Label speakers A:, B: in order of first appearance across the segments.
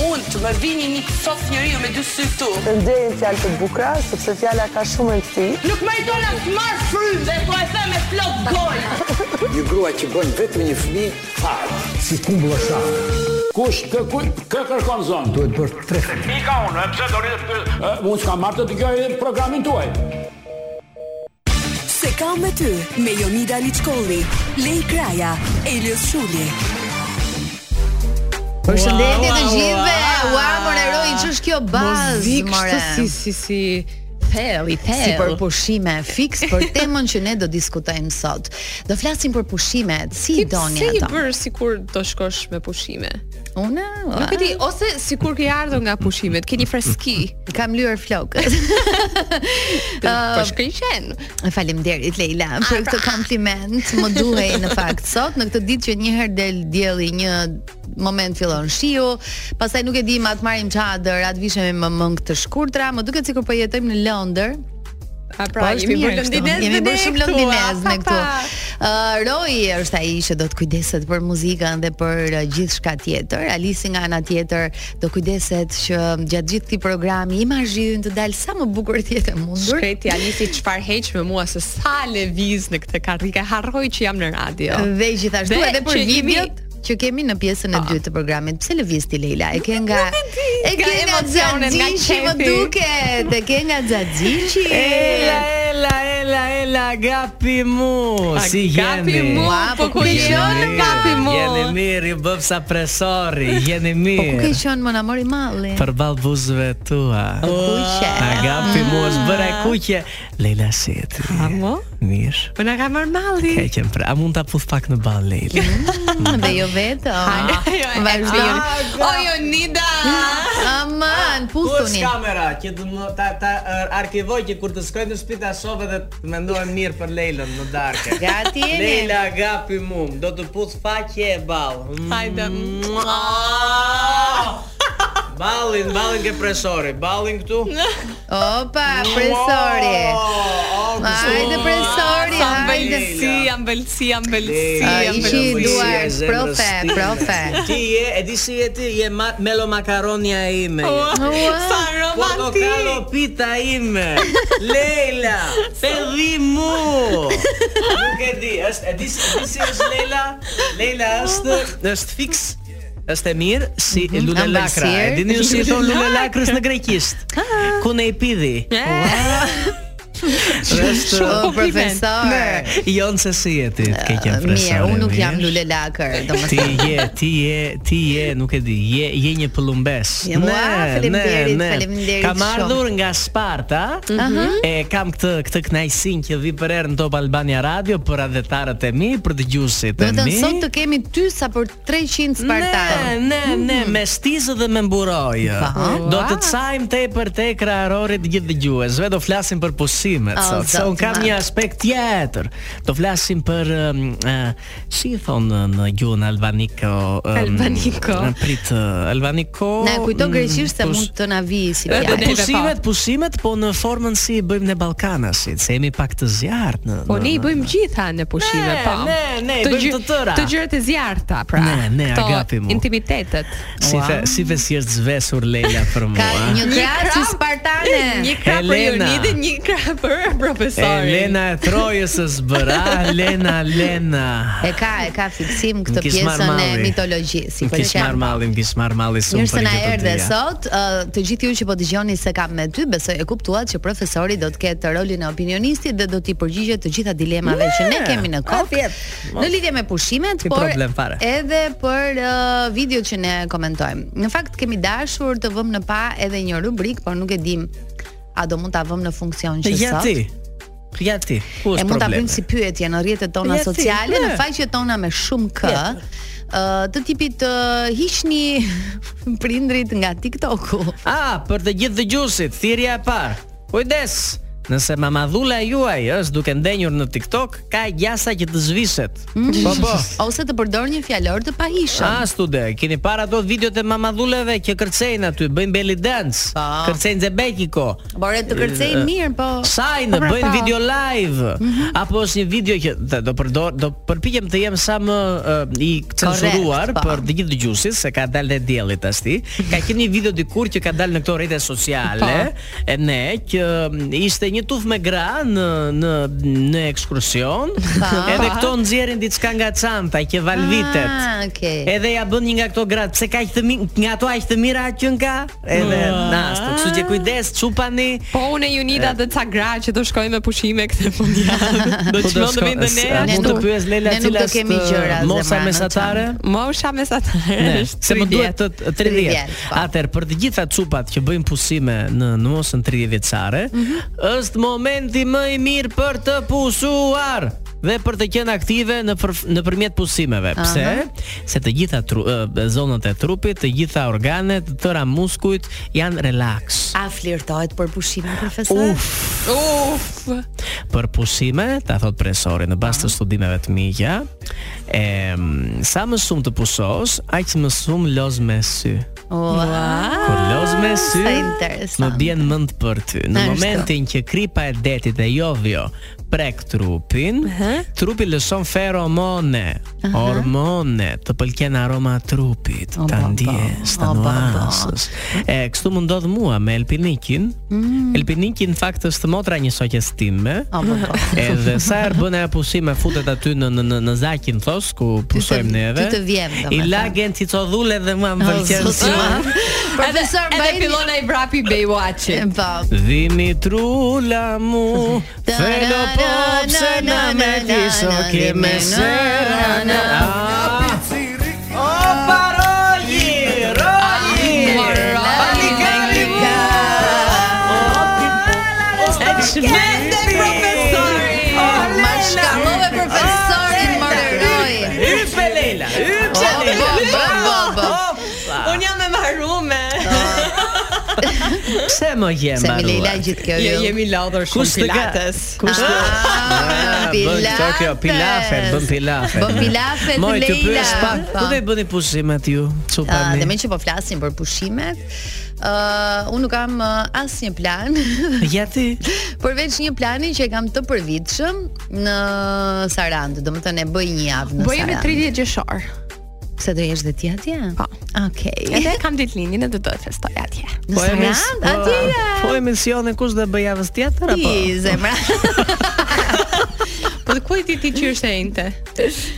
A: mund të më vini një sot njeriu me dy sy këtu.
B: Të nderin fjalë të bukura, sepse fjala ka shumë rëndësi.
A: Nuk më dona të marr frymë dhe po e them me plot gojë.
C: Një grua që bën vetëm një fëmijë fare.
D: si kumbulla shafë.
E: Kush kë kë, kë kërkon zonë?
D: Duhet bërë tre
E: Pika unë, e pse do rritë të pyet? E, Unë s'kam marrë të dëgjoj programin tuaj.
F: Se kam me ty me Jonida Liçkolli, Lej Kraja, Elios Shuli.
G: Përshëndetje
H: Ua,
G: të
H: ua,
G: gjithëve.
H: ua.
G: Ua, more roj, ç'është kjo bazë,
H: Muzikë
G: more?
H: kështu si si si thell i thell.
G: Si për pushime fiks për temën që ne do diskutojmë sot. Do flasim për pushimet, si i
H: Kip,
G: doni
H: se i
G: ato?
H: bër sikur do shkosh me pushime.
G: Unë ua,
H: Nuk e di, ose sikur ke ardhur nga pushimet, ke një freski.
G: ah, kam lyer flokët.
H: Po shkëlqen.
G: Faleminderit Leila për këtë kompliment. Më duhej në fakt sot në këtë ditë që një herë del dielli, një moment fillon shiu, pastaj nuk e di ma të marrim çadër, atë vishemi me mëngë të shkurtra, më duket sikur po jetojmë në Londër.
H: A pra,
G: Po, është
H: jemi bërë
G: mirë kështu,
H: lëndinez
G: Jemi
H: dhe
G: bërë
H: ne
G: shumë
H: këtu,
G: lëndinez
H: a,
G: me
H: pa,
G: këtu.
H: pa.
G: Uh, Roy është ai që do të kujdeset për muzikën dhe për uh, gjithçka tjetër. Alisi nga ana tjetër do kujdeset që um, gjatë gjithë këtij programi imazhi ynë të dalë sa më bukur të jetë e mundur.
H: Shkreti Alisi çfarë heq me mua se sa lëviz në këtë karrike. Harroj që jam në radio.
G: Dhe gjithashtu
H: Dhe
G: edhe për
H: që jemi- Ah.
G: videot që kemi në pjesën e dytë të programit. Pse lëviz ti Leila? E ke nga e
H: Nga
G: ke nga
H: emocionet, nga
G: xhaxhishi, më
H: qefi.
G: duket. E ke nga xhaxhishi.
I: ela, ela, ela, gapi mu,
H: A,
I: si
H: gapi
I: jeni?
H: mu,
G: Ua,
H: po
G: po
H: ku
G: ku
H: jon
G: jeni?
H: gapi mu.
I: Jeni mirë, ju bëpsa presori, jeni
G: Po ku ke Po
I: mirë.
G: qenë më na mori malli?
I: Për balë buzëve tua.
G: kuqe.
I: A gapi
G: Ah.
I: mu, është bërë e kuqe. Leila, si e ti?
H: Amo,
I: Mirë.
H: po na ka marr malli.
I: Ka qenë pra, a mund ta puth pak në balë, Leila?
G: Mm, Dhe jo vetëm.
H: jo,
G: Vazhdo.
I: Ah,
H: O Jonida.
G: Aman,
I: Kurs
G: puthuni.
I: kamera, që të më ta, ta er, arkivoj që kur të shkoj në shtëpi ta shoh dhe të mendohem mirë për Leilën në darkë.
G: Gati jeni?
I: Leila gapi mum, do të puth faqe e ballë.
H: Hajde.
I: Ballin, ballin ke presori, ballin këtu.
G: Opa, presori.
I: Oh, oh,
G: Hajde presori,
H: Sa
G: hajde.
H: mbëlsi, ambëlsi,
I: Ε,
H: ambëlsi,
G: A, ishi
H: ambëlsi.
G: duar, profe, profe.
I: Ti je, e di si je ti, je ma- melo makaronia ime. je.
H: Sa
I: Portokalo
H: romantik.
I: pita ime. Leila, pedhi mu. Nuk e di, është e di si e di si është Leila. Leila është është fiks është e mirë si lule lakra. E
G: Ambëlsirë.
I: dini ju si e thon lule lakrës në greqisht? Ku ne i pidhi? Dhe është
G: O, Oh, profesor.
I: Jon se si je ti, të ke qenë
G: Mirë,
I: profesore,
G: unë nuk jam
I: mirë.
G: lule lakër,
I: Ti
G: domethënë.
I: je, ti je, ti je, nuk e di, je je një pëllumbes.
G: Je, ua, faleminderit, faleminderit
I: Kam
G: shumë.
I: ardhur ναι, nga Sparta, e kam këtë këtë kënaqësinë që vi për herë në Top Albania Radio për adhetarët e mi, për dëgjuesit e
G: Do të
I: mi.
G: thënë sot të kemi ty sa për 300 spartanë.
I: Ne, ne, ne,
G: Mm-hmm.
I: me stizë dhe me mburoj.
G: Pa.
I: Do të cajm te për te krarorit të gjithë dëgjuesve, do flasim për pusimet.
G: O,
I: sot, se
G: zoti
I: un kam
G: madh.
I: një aspekt tjetër. Do flasim për um, uh, si i thon në- në gjuhën albaniko. Um,
H: Albaniko.
I: në Prit uh, albaniko.
G: Na kujto
I: mm,
G: greqisht se
I: pus-
G: mund të na vi si
H: Edhe
G: fjalë.
H: ne- neve
I: Pusimet, pusimet, po në formën si i bëjmë në Ballkanasit, se jemi pak të zjarrt në.
H: Po
I: në-
H: ne i bëjmë gjitha në pushime,
I: Ne,
H: po.
I: ne, ne, i bëjmë
H: gjy-
I: të tëra.
H: Të gjërat e zjarta, pra.
I: Ne, ne,
H: Këto
I: agapi mu.
H: Intimitetet.
I: Si the, si the si është zvesur Leila për mua.
G: Ka një krah si
H: krah-
G: spartane.
H: Një krah për
I: Elena.
H: Jonidin, një krah për profesorin.
I: Elena e Trojës së zbëra, Elena, Elena.
G: E ka, e ka fiksim këtë
I: M'kish marr
G: pjesën e
I: malli.
G: mitologjisë, si
I: Më
G: për
I: kish marr malli, më kish marr malli shumë
G: Mirë se na
I: këtë
G: erdhe
I: dia.
G: sot, ë, të gjithë ju që po dëgjoni se kam me ty, besoj e kuptuat që profesori do të ketë rolin e opinionistit dhe do t'i përgjigjet të gjitha dilemave që ne kemi në kokë. Në lidhje me pushimet,
I: Ti
G: por
I: problem fare.
G: edhe për uh, videot që ne komentojmë. Në fakt kemi dashur të vëmë në pa edhe një rubrik, por nuk e dim a do mund ta vëmë në funksion që
I: Ja
G: sot.
I: ti. Ja ti. Ku
G: E
I: është
G: mund ta
I: problemi?
G: bëjmë si pyetje në rrjetet tona
I: Ja, si,
G: sociale, në
I: ne.
G: faqet tona me shumë k. ë, të tipit uh, hiqni prindrit nga TikToku.
I: Ah, për të gjithë dëgjuesit, thirrja e parë. Kujdes. Nëse mamadhula juaj është duke ndenjur në TikTok, ka gjasa që të zhvishet. Po po.
G: Ose të përdor një fjalor të pahishëm.
I: A stude, keni para ato videot e mamadhuleve që kërcejnë aty, bëjnë belly dance,
G: Pa.
I: kërcejnë zebekiko.
G: Bore të kërcej
I: Eh,
G: mirë, po.
I: Sajnë,
G: po pra,
I: bëjnë
G: pa.
I: video live Apo është një video që dhe, do, përdor, do përpijem të jem sa më eh, i censuruar
G: po.
I: Për të gjithë dëgjuesit se ka dalë dhe djelit ashti Ka qenë një video dikur që ka dalë në këto rrjete sociale E ne që mm, ishte një tuf me gra në, në, në ekskursion Edhe këto nxjerrin diçka nga çanta që valvitet
G: Ah, okay.
I: Edhe ja bën një nga këto gratë, pse ka aq të mi, nga ato aq të mira që nga edhe nastu. Kështu që kujdes, çupani.
H: Po unë e Unida dhe ca gra që do shkojnë me pushime këtë fundjavë. Do
I: Po
H: të shkojnë dhe vinë dhe
G: Ne
H: ne.
I: Mund të
G: nuk-
I: pyes Lela
G: ne nuk
I: cila
G: do kemi gjëra
I: mosa
G: zemra në
I: mesatare.
H: Mosha mesatare
I: Ne,
H: është
I: se më
H: 30.
I: duhet të të 30.
G: 30, po.
I: Atëherë për të gjitha cupat që bëjnë pusime në në mosën 30 vjeçare,
G: Mhm.
I: është momenti më i mirë për të pusuar dhe për të qenë aktive në për, nëpërmjet pusimeve. Pse? Se të gjitha tru, ë, zonat e trupit, të gjitha organet, të tëra muskujt janë relax.
G: A flirtohet për pushimin profesor?
H: Uf.
I: për pushime, ta thot profesori në bazë të studimeve të mia, em sa më shumë të pusosh, aq më shumë loz me sy.
G: Ua.
I: Kur loz me sy,
G: sa interesante.
I: më bjen mend për ty. Në
G: Ashtu.
I: momentin që kripa e detit e jovjo prek trupin, trupi lëshon feromone, hormone, të pëlqen aroma e trupit,
G: O, ba,
I: ta
G: ba.
I: ndjes, ta
G: O, ba, ba.
I: nuansës. E kështu më ndodh mua me Elpinikin. Elpiniki në fakt është motra një shoqes time.
G: Apo po.
I: Edhe sa herë bën ajo pushime futet aty në në në, në Zakin thos ku pusojmë neve.
G: ty të vjem,
I: I
G: domethënë.
I: lagen cicodhule dhe mua më pëlqen si.
G: Profesor
H: Edhe
G: bëjnë-
H: fillon ai vrapi Baywatch-it.
G: Po.
I: Dimitrula mu Felo pop se na me ti so ki me sera na Ah. O paroli, roli Palikali mu
H: Shmende profesori.
G: Ma shkamove profesorin Moreroi.
I: Ype Leila, ype
G: Po,
I: Leila
G: po, po, po.
H: Un jam e marrume.
I: Pse më je
G: Se mi Leila
I: mbaruar?
G: gjithë kjo
H: Jo,
G: ju.
H: jemi lodhur shumë
I: Kush të ka?
H: pilates.
I: Kush të
G: Ah,
I: Bën këto kjo, pilafet, bën pilafet.
G: Bën pilafet,
I: Moj të
G: Leila.
I: pyes pak,
G: Po.
I: ku do i bëni pushimet ju?
G: Ah,
I: Çupani.
G: dhe me që po flasim për pushimet, uh, unë nuk kam uh, asnjë plan,
I: Ja ti.
G: përveç një plani që e kam të përvitshëm në Sarandë, do më thënë e bëj një javë në
H: Bëjmë në
G: Sarandë.
H: 30 gjeshor.
G: Se do jesh dhe ti atje?
H: Po.
G: Okej.
H: Edhe kam ditë linjën edhe do të festoj atje.
G: Në Sarandë, atje je.
I: Po emisionin kush do bëj javës tjetër apo?
G: Ti, zemra.
I: Pra,
H: Po ku e ti ti që është e inte?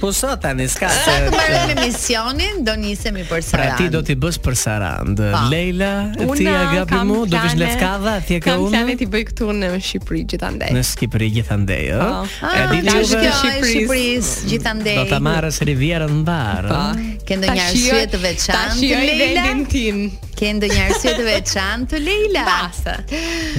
I: Po sot tani s'ka.
G: Sa të marrim emisionin, do nisemi për
I: Pra
G: Sarandë.
I: ti do t'i bësh për Sarand.
G: Pa.
I: Leila, ti ja gapi mu, do vish lefkadha, ti e ke
H: Kam plane
I: unë.
H: ti bëj këtu në Shqipëri gjithandaj.
I: Në Skipëri gjithandej, ë?
H: Po.
G: Ah,
I: E di
G: kjo është
I: juve,
G: kjo e
H: Shqipërisë.
G: Shqipërisë, gjithandej.
I: do ta marrësh Rivierën mbar,
H: Po.
I: ë?
G: Ke ndonjë
H: Ta
G: arsye
H: shijoj-
G: të
H: Ta
G: veçantë,
H: shioj
G: Leila?
H: vendin tim.
G: Ke ndonjë arsye të veçantë, Leila?
H: Pase.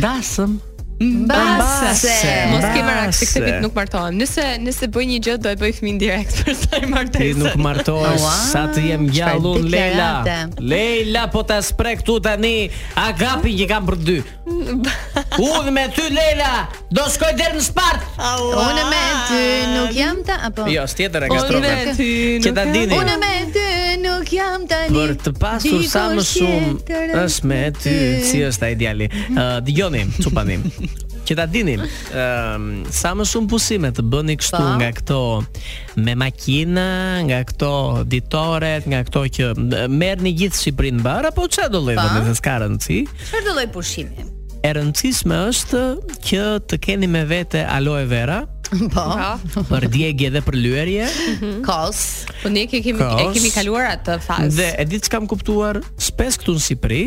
I: Dasëm.
G: Mbase.
H: Mos ke merak se këtë
I: Mbase.
H: vit nuk martohem. Nëse nëse bëj një gjë do e bëj fëmin direkt për sa i
I: Ti
H: martesën.
I: nuk martohesh
G: Ua,
I: sa të jem
G: çfarë
I: gjallë unë Leila.
G: deklarate.
I: Leila po ta spre këtu tani agapin që kam për dy. Unë me ty Leila do shkoj deri në Spart.
G: Unë me ty nuk jam ta apo?
I: Jo, s'tjetër e
H: Ah. Unë me ty
I: Që ta
H: nuk
I: dini.
G: Unë me ty nuk jam tani.
I: Për të pasur sa më
G: dikush
I: shumë
G: tjetër
I: është me ty, si është ai djali.
G: Mhm.
I: Ë dëgjoni, çupanim. Që ta dini, ëm sa më shumë pusime të bëni kështu
G: Po.
I: nga këto me makina, nga këto ditoret, nga këto që m- merrni gjithë Shqipërinë mbar apo çfarë do lloj
G: Po.
I: vende se s'ka rëndësi.
G: Çfarë do lloj pushimi?
I: E rëndësishme është që të keni me vete aloe vera
G: Po,
I: për djegje dhe për lyerje
G: kos.
H: Po ne ke kemi e
I: Kos.
H: kemi kaluar atë fazë.
I: Dhe e di që kam kuptuar, spes këtu në Sipri,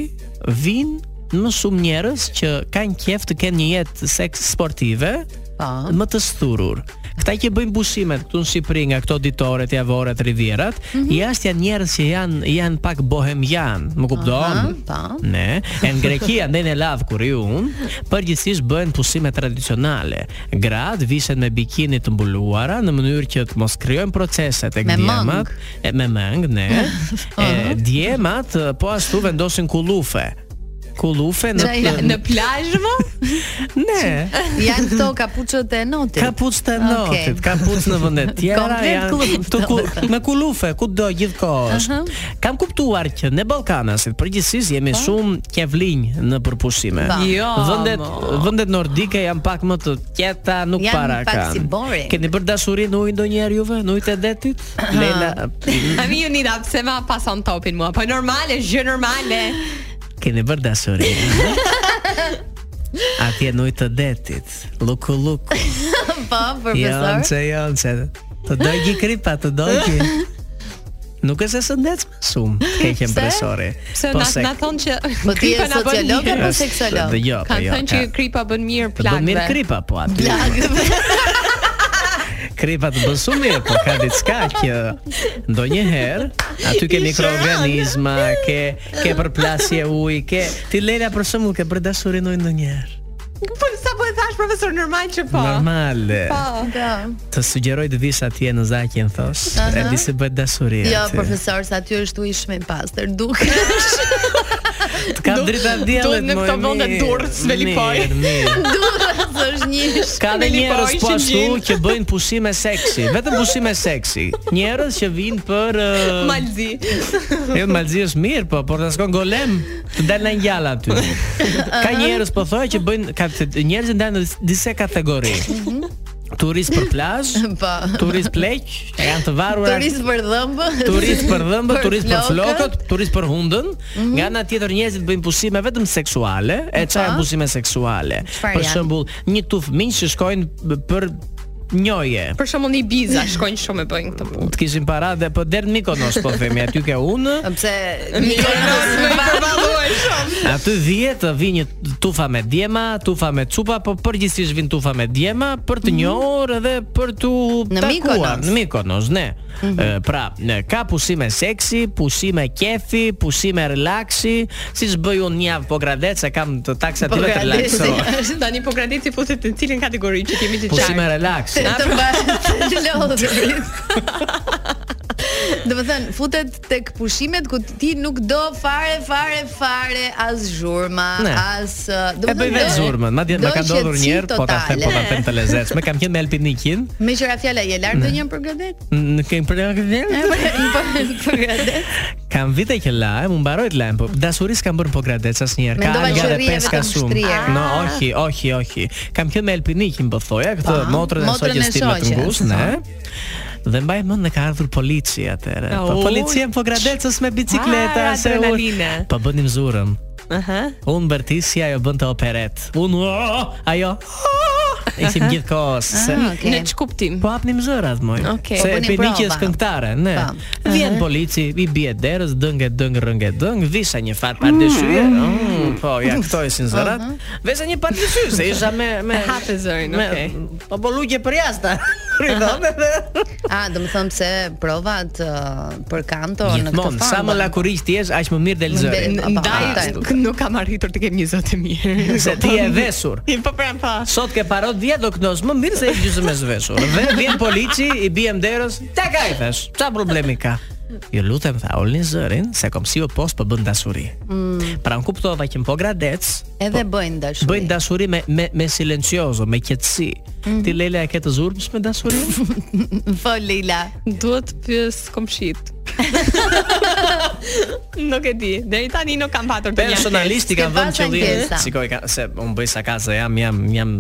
I: vinë më shumë njerëz që kanë qef të kenë një jetë seks sportive,
G: Po.
I: më të sthurur. Këta që bëjnë pushimet këtu në Shqipëri nga këto ditoret, javoret, rivierat,
G: Mhm.
I: jashtë janë njerëz që janë janë pak bohemian, më kupton?
G: Aha, po.
I: Ne, e në Greqi andaj në lavë kur ju përgjithsisht bëhen pusime tradicionale. Gratë vishen me bikini të mbuluara në mënyrë që të mos krijojnë procese tek
G: Me mëng.
I: djemat, e, me mëng, ne. e, djemat e, po ashtu vendosin kullufe. kullufe në
G: Qa janë?
H: Në plazh mo?
I: Ne.
G: Janë këto kapuçët e notit.
I: Kapuc të
G: Okej.
I: notit, kapuc në vende tjera
G: Komplet kullufe,
I: këtu ku- me kulufe kudo gjithkohë është. Kam kuptuar që ne ballkanasit përgjithsisht jemi shumë kevlinj në përpushime.
G: Po.
H: Jo,
I: Vendet
H: mo.
I: vendet nordike janë pak më të qeta, nuk
G: Janë
I: para
G: pak
I: kanë.
G: si boring.
I: Keni bërë dashuri në ujë ndonjëherë juve, në ujë të detit? Leila,
H: A mi ju nida, pse ma pason topin mua? Po normale, gjë normale.
I: keni bërë dashuri? Atje në ujë të detit, luku luku.
G: po,
I: Janë
G: profesor.
I: që janë që Të dojgji kripa, të dojgji Nuk është e shëndetshme shumë Ke që impresori Po
H: Pse na na thon që
G: Po ti je
H: kripa na bën
G: sociolog
H: mirë.
G: apo seksolog?
I: Dhe jo, po
H: Kanë
I: jo
H: thënë që kripa bën mirë
I: Të bën mirë
H: plagëve.
I: kripa, po aty Kripa të bën shumë mirë, po ka diçka që ndonjëherë aty ke mikroorganizma, ke ke përplasje uji, ke ti Leila për shembull ke bërë dashuri në ujë ndonjëherë.
H: Po sa po e thash profesor normal që po.
I: Normale.
H: Po.
G: Do.
I: Të sugjeroj të vish atje në Zakjen thos, e di se bëhet dashuri.
G: Jo,
I: aty.
G: profesor, sa aty është uji shumë i pastër, dukesh.
I: Të kam drita
H: duhet
I: djellet,
H: në këto vende Durrës, Velipoj.
I: Mirë,
G: Durrës është një
I: Ka dhe
H: Velipoj,
I: njerëz po ashtu
H: Shqipërinë.
I: që bëjnë pushime seksi, vetëm pushime seksi. Njerëz që vinë për uh,
H: Malzi.
I: jo malzi është mirë, po por ta shkon golem, të dalë në gjalla aty. Ka njerëz po thonë që bëjnë ka njerëz ndajnë në disa kategori. Turist për plazh,
G: po.
I: turist pleq, që janë të varura
G: Turist për dhëmbë.
I: turist për dhëmbë, turist për
G: flokët. Mhm.
I: flokët, turist për hundën. Nga ana tjetër njerëzit bëjnë pushime vetëm seksuale. E çfarë janë pushime seksuale?
G: Çfarë
I: Për
G: janë?
I: shembull, një tuf miq që shkojnë b- për njoje.
H: Për shembull në Ibiza shkojnë shumë e bëjnë këtë punë.
I: Të kishin para dhe po derdh Mikonos po themi, aty ke unë,
G: Pse Mikonos
H: Më përballuaj shumë.
I: aty vije të vi një tufa me djema, tufa me çupa, po përgjithsisht vin tufa me djema për të njohur edhe për tu
G: Në
I: takuar
G: Mikonos.
I: në Mikonos, ne. E, pra, ne, ka pushime seksi, pushime kefi, pushime relaksi, siç bëj unë një javë po gradet se kam të taksative të
G: Pogradeci.
I: relaksoa.
H: Tani po graditi futet në cilin kategori që kemi të
I: Pushime
H: qartë.
I: relaks.
G: të mbahet lodhurit. Do të thënë, futet tek pushimet ku ti nuk do fare, fare, fare as zhurma,
I: Ne.
G: as ë, do
I: E bëj vetë zurmën, madje më ka ndodhur një herë, po ta them, po ta them të lezetshme. Kam qenë me Alpinikin,
G: Me qira fjala je lart do një për gradet?
I: në kem për
G: E, po, Për gradet.
I: Kam vite që lajm, unë mbaroj të lajm, po dashuris kam bërë po gradec asnjëherë.
G: Mendova
I: alga
G: që
I: dhe
G: rrije
I: peska
G: vetëm
I: shumë.
G: shtrier.
I: No, ohi, ohi, ohi. Kam qenë me alpinikin po thoja, këtë
G: Pa,
I: motrën e
G: motrën e
I: shoqes time të
G: shoqes,
I: ngushtë, ne. Dhe mbaj mend ne ka ardhur polici atëherë. Po
H: Au.
I: policia po gradecës me bicikleta
H: Ah,
I: se
H: adrenaline.
I: unë po bënim zurëm.
H: Aha.
I: Unë bërtisja ajo bën të operet. Unë "Oh!" ajo. "Oh!" Ishim gjithkohës. se-
G: Ah, okay.
H: Në çkuptim.
I: Po hapnim zërat moj.
H: Okej.
I: Se
H: Po
G: bënim
I: Peniki
G: prova.
I: është këngëtare, ne.
G: Pa.
I: Vjen polici, i bie derës, dëngë dëng rëngë dëng, visha një fat pardeshyje. Mm, po, ja këto ishin zërat. Vesa një pardeshy, se isha me me
H: Hape zërin,
I: me-
H: okay.
I: Po bolugje për jashtë. Rridon edhe.
G: A, do të them se provat ë, për kanto në këtë
I: Gjithmonë,
G: fond.
I: sa më lakuriç ti jesh, aq më mirë del zëri.
G: Del- Po,
H: Ndaj
G: kuptoj.
H: nuk- nuk kam arritur të kem një zot e mirë.
I: Se ti je vesur.
H: Po pran pa.
I: Sot ke parot dje do kënos më mirë se e gjysmë e zveshur. Dhe vjen polici, i bie derës, ta ka i thash. Ça problemi ka? Ju lutem tha, olni zërin, se kom si o post për bën dashuri.
G: Mm.
I: Pra unë kuptova që në po gradec,
G: Edhe bëjnë dashuri.
I: bëjnë dashuri me, me, me silenciozo, me qetësi.
G: Mm.
I: Ti Leila e ke të zurmës me dashuri?
G: Po Leila.
I: Ah.
H: Duhet pyes komshit. nuk e di. Deri tani nuk kam patur të
I: Personalisht i kam
G: S'ke
I: vënë
G: pas
I: qëllimin.
G: ankesa.
I: Shikoj ka se un bëj sa kasa jam jam jam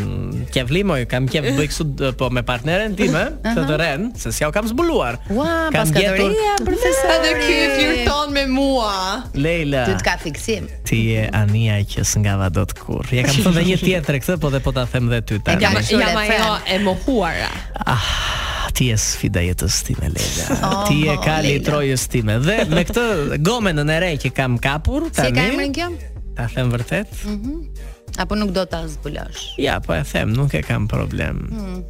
I: kevli moj, kam kev bëj kështu d- po me partneren time, të të ren, se s'ja u kam zbuluar.
G: Ua,
I: Kam
G: pas
I: gjetur-
G: katoria, profesor.
H: Edhe ky flirton me mua.
I: Leila.
G: Ty të ka fiksim.
I: Ti je ania që s'ngava dot kur. Ja kam thënë dhe një tjetër këtë, po dhe po ta them dhe ty
G: E kam
I: tani.
G: Sure,
H: Jam ajo
G: friend.
H: e mohuara.
I: Ti je sfida jetës time Leila. Ti je kali i
G: Leila.
I: trojës time. Dhe me këtë gomenën e re që kam kapur
G: Si e ka
I: tani,
G: emrin kjo?
I: ta them vërtet?
G: Apo nuk do ta zbulosh?
I: Ja, po e them, nuk e kam problem.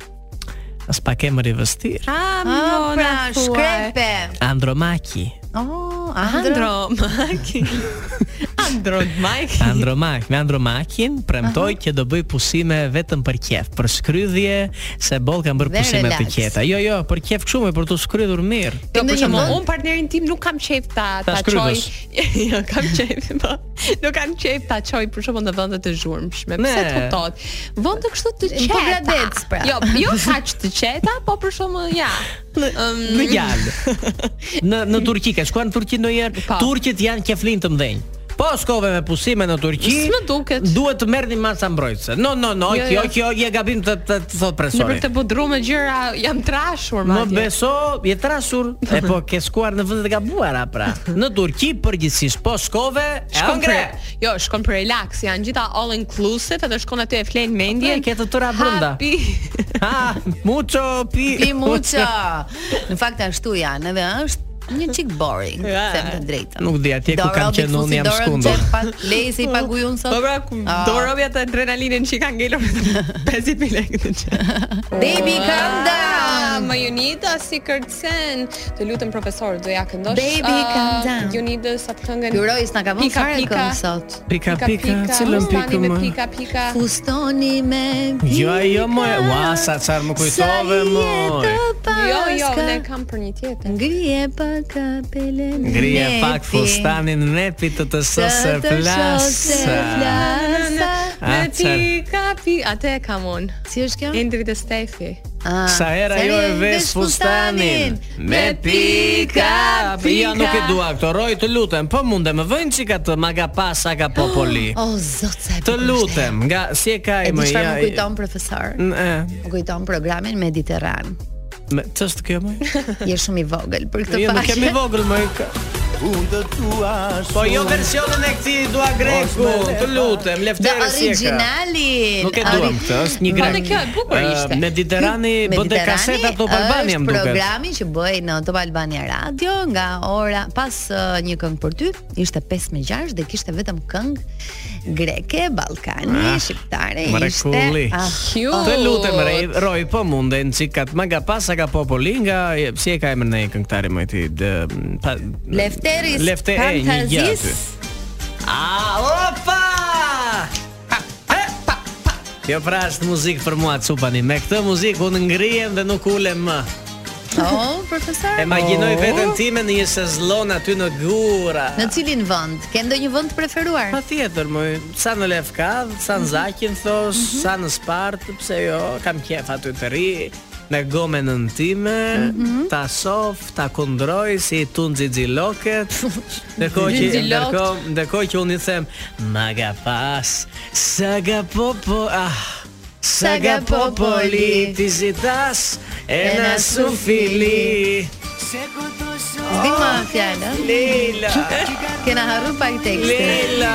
I: As pak emër i vështirë.
H: Ah,
G: Ah, pra, shkrepe.
I: Andromaki.
G: Oh, Andro.
H: Andro Maki. Andro Maki.
I: Andromak, me Andromakin premtoj që do bëj pusime vetëm për qef, për shkrydhje, se boll kanë bërë
G: Dhe
I: pusime të
G: relax.
I: qeta. Jo, jo, për qef kështu, me për të shkrydhur mirë.
H: Jo,
G: Ti
H: për
G: ndonjë
H: shembull,
G: vend?
H: un partnerin tim nuk kam qef ta
I: Ta
H: ta çoj.
I: shkrydhësh.
H: Jo, kam qef. Po. nuk kanë qejf ta çoj për shkakun në vende të zhurmshme.
I: Ne.
H: Pse të kuptohet? Vende kështu të
G: Po
H: qeta.
G: gradec, pra.
H: Jo, jo kaq të qeta, po për shkakun ja.
I: Në gjalë. Në në Turqi, ka shkuar në Turqi ndonjëherë?
H: Po.
I: Turqit janë qeflin të mëdhenj. Po shkove me pusime në Turqi.
H: S'më duket.
I: Duhet të merrni masa mbrojtëse. No, no, no,
H: Jo,
I: kjo
H: jo.
I: kjo je gabim të të, të thot
H: Në për
I: presori.
H: të bodru me gjëra jam trashur
I: Më
H: madje.
I: beso, je trasur. E po ke shkuar në vende të gabuara pra. Në Turqi përgjithsisht po shkove, e
H: Shkon
I: ëngre.
H: për- Jo, shkon për relax, janë gjitha all inclusive, edhe shkon aty e flen mendjen.
I: Po, ke të tëra brenda.
H: Hapi.
I: Ha, mucho pi.
G: Pi muça. Në fakt ashtu janë, edhe është një çik boring,
H: Ja.
G: them të drejtën.
I: Nuk di, atje ku
G: Dora
I: kam
G: Robi
I: qenë unë
G: fusi
I: jam
G: dorën
I: shkundur.
G: xhep, pa- Lej se i pagujon sot.
H: Po pra, ku
G: Ah.
H: dorobja të adrenalinën që i ka ngelur 50000 lekë të çaj.
G: Baby calm down.
H: Ma Junita si kërcen. Të lutem profesor, do ja këndosh.
G: Baby,
H: ah,
G: calm down.
H: Junitës atë këngën.
G: Jurois na ka vënë
H: Pika,
G: fare
H: pika.
G: këngë sot.
I: Pika pika, cilën
H: Fustani
I: pikë
H: me
I: më?
H: pika pika.
G: Fustoni me pika.
I: Jo, jo, mo, ua, sa çfarë më kujtove, mo.
H: Jo, jo, ne kam për një tjetër.
G: Ngrije pak kapelen
I: Ngrije pak fustanin nepi të të sose plasa.
G: plasa
H: Me
I: Ah,
H: pika pika. Atë e kam unë.
G: Si është kjo?
H: Endri dhe Stefi.
G: Ah,
I: Sa hera
G: sa
I: jo e vesh
G: vesh
I: fustanin Me pika Pia nuk e dua këto Roj të lutem Po munde me vënë që ka të maga pasa ka popoli
G: O zot sa e
I: Të
G: bukur
I: lutem Nga si e ka
G: është Oh. E di
I: i më
G: çfarë
I: ja
G: më kujton profesor?
I: N- e,
G: Më kujton programin Mediterran.
I: me- Ç'është kjo më?
G: Je shumë i vogël për këtë
I: Jo nuk
G: faqe.
I: jam i vogël më ka- Po jo versionin e këtij dua greku Të lutem
G: The
I: Leftere si e ka
G: originalin.
I: Nuk e
G: Ori-
I: duam këtë, është një
H: Po
I: grek.
H: dhe kjo e bukur ishte.
I: Mediterani bën dhe kaseta top Albania
G: Është
I: më duket.
G: programi që bëhej në Top Albania Radio nga ora pas ë, një këngë për ty, ishte 5 me 6 dhe kishte vetëm këngë greke, ballkani,
I: Ah,
G: shqiptare, ishte. Ah,
I: Mrekulli.
H: Cute.
I: Të lutem Rej, Roj, po munden që ka të maga pasa ka populli nga si e ka emrin e këngëtarit më i ti? dë- pa-
G: Lefteris
I: Lefte e një gjë aty.
G: Pantazis.
I: A, opa! E, pa, pa. Kjo pra është muzikë për mua cupani. Me këtë muzikë unë ngrihem dhe nuk ulem më.
G: Oh, profesor.
I: E magjinoj
H: Po.
I: veten time në një sezllon aty në gura.
G: Oh. Në cilin vend? Ke ndonjë vend të preferuar?
H: Po.
I: Pa tjetër, më sa në Lefkav, sa në Zakin thos, sa në Spartë, pse jo, kam qef aty të ri, me gome në time, ta sof, ta kundroj si tun xixiloket. Ndërkohë që
H: Xixilok.
I: ndërkohë, ndërkohë që unë i them, maga pas, saga popo, ah, saga popoli, ti zitas, e na sufili.
G: Zdi më fjalë. ë?
I: Leila,
G: Kena harru pak tekstin.
I: Leila.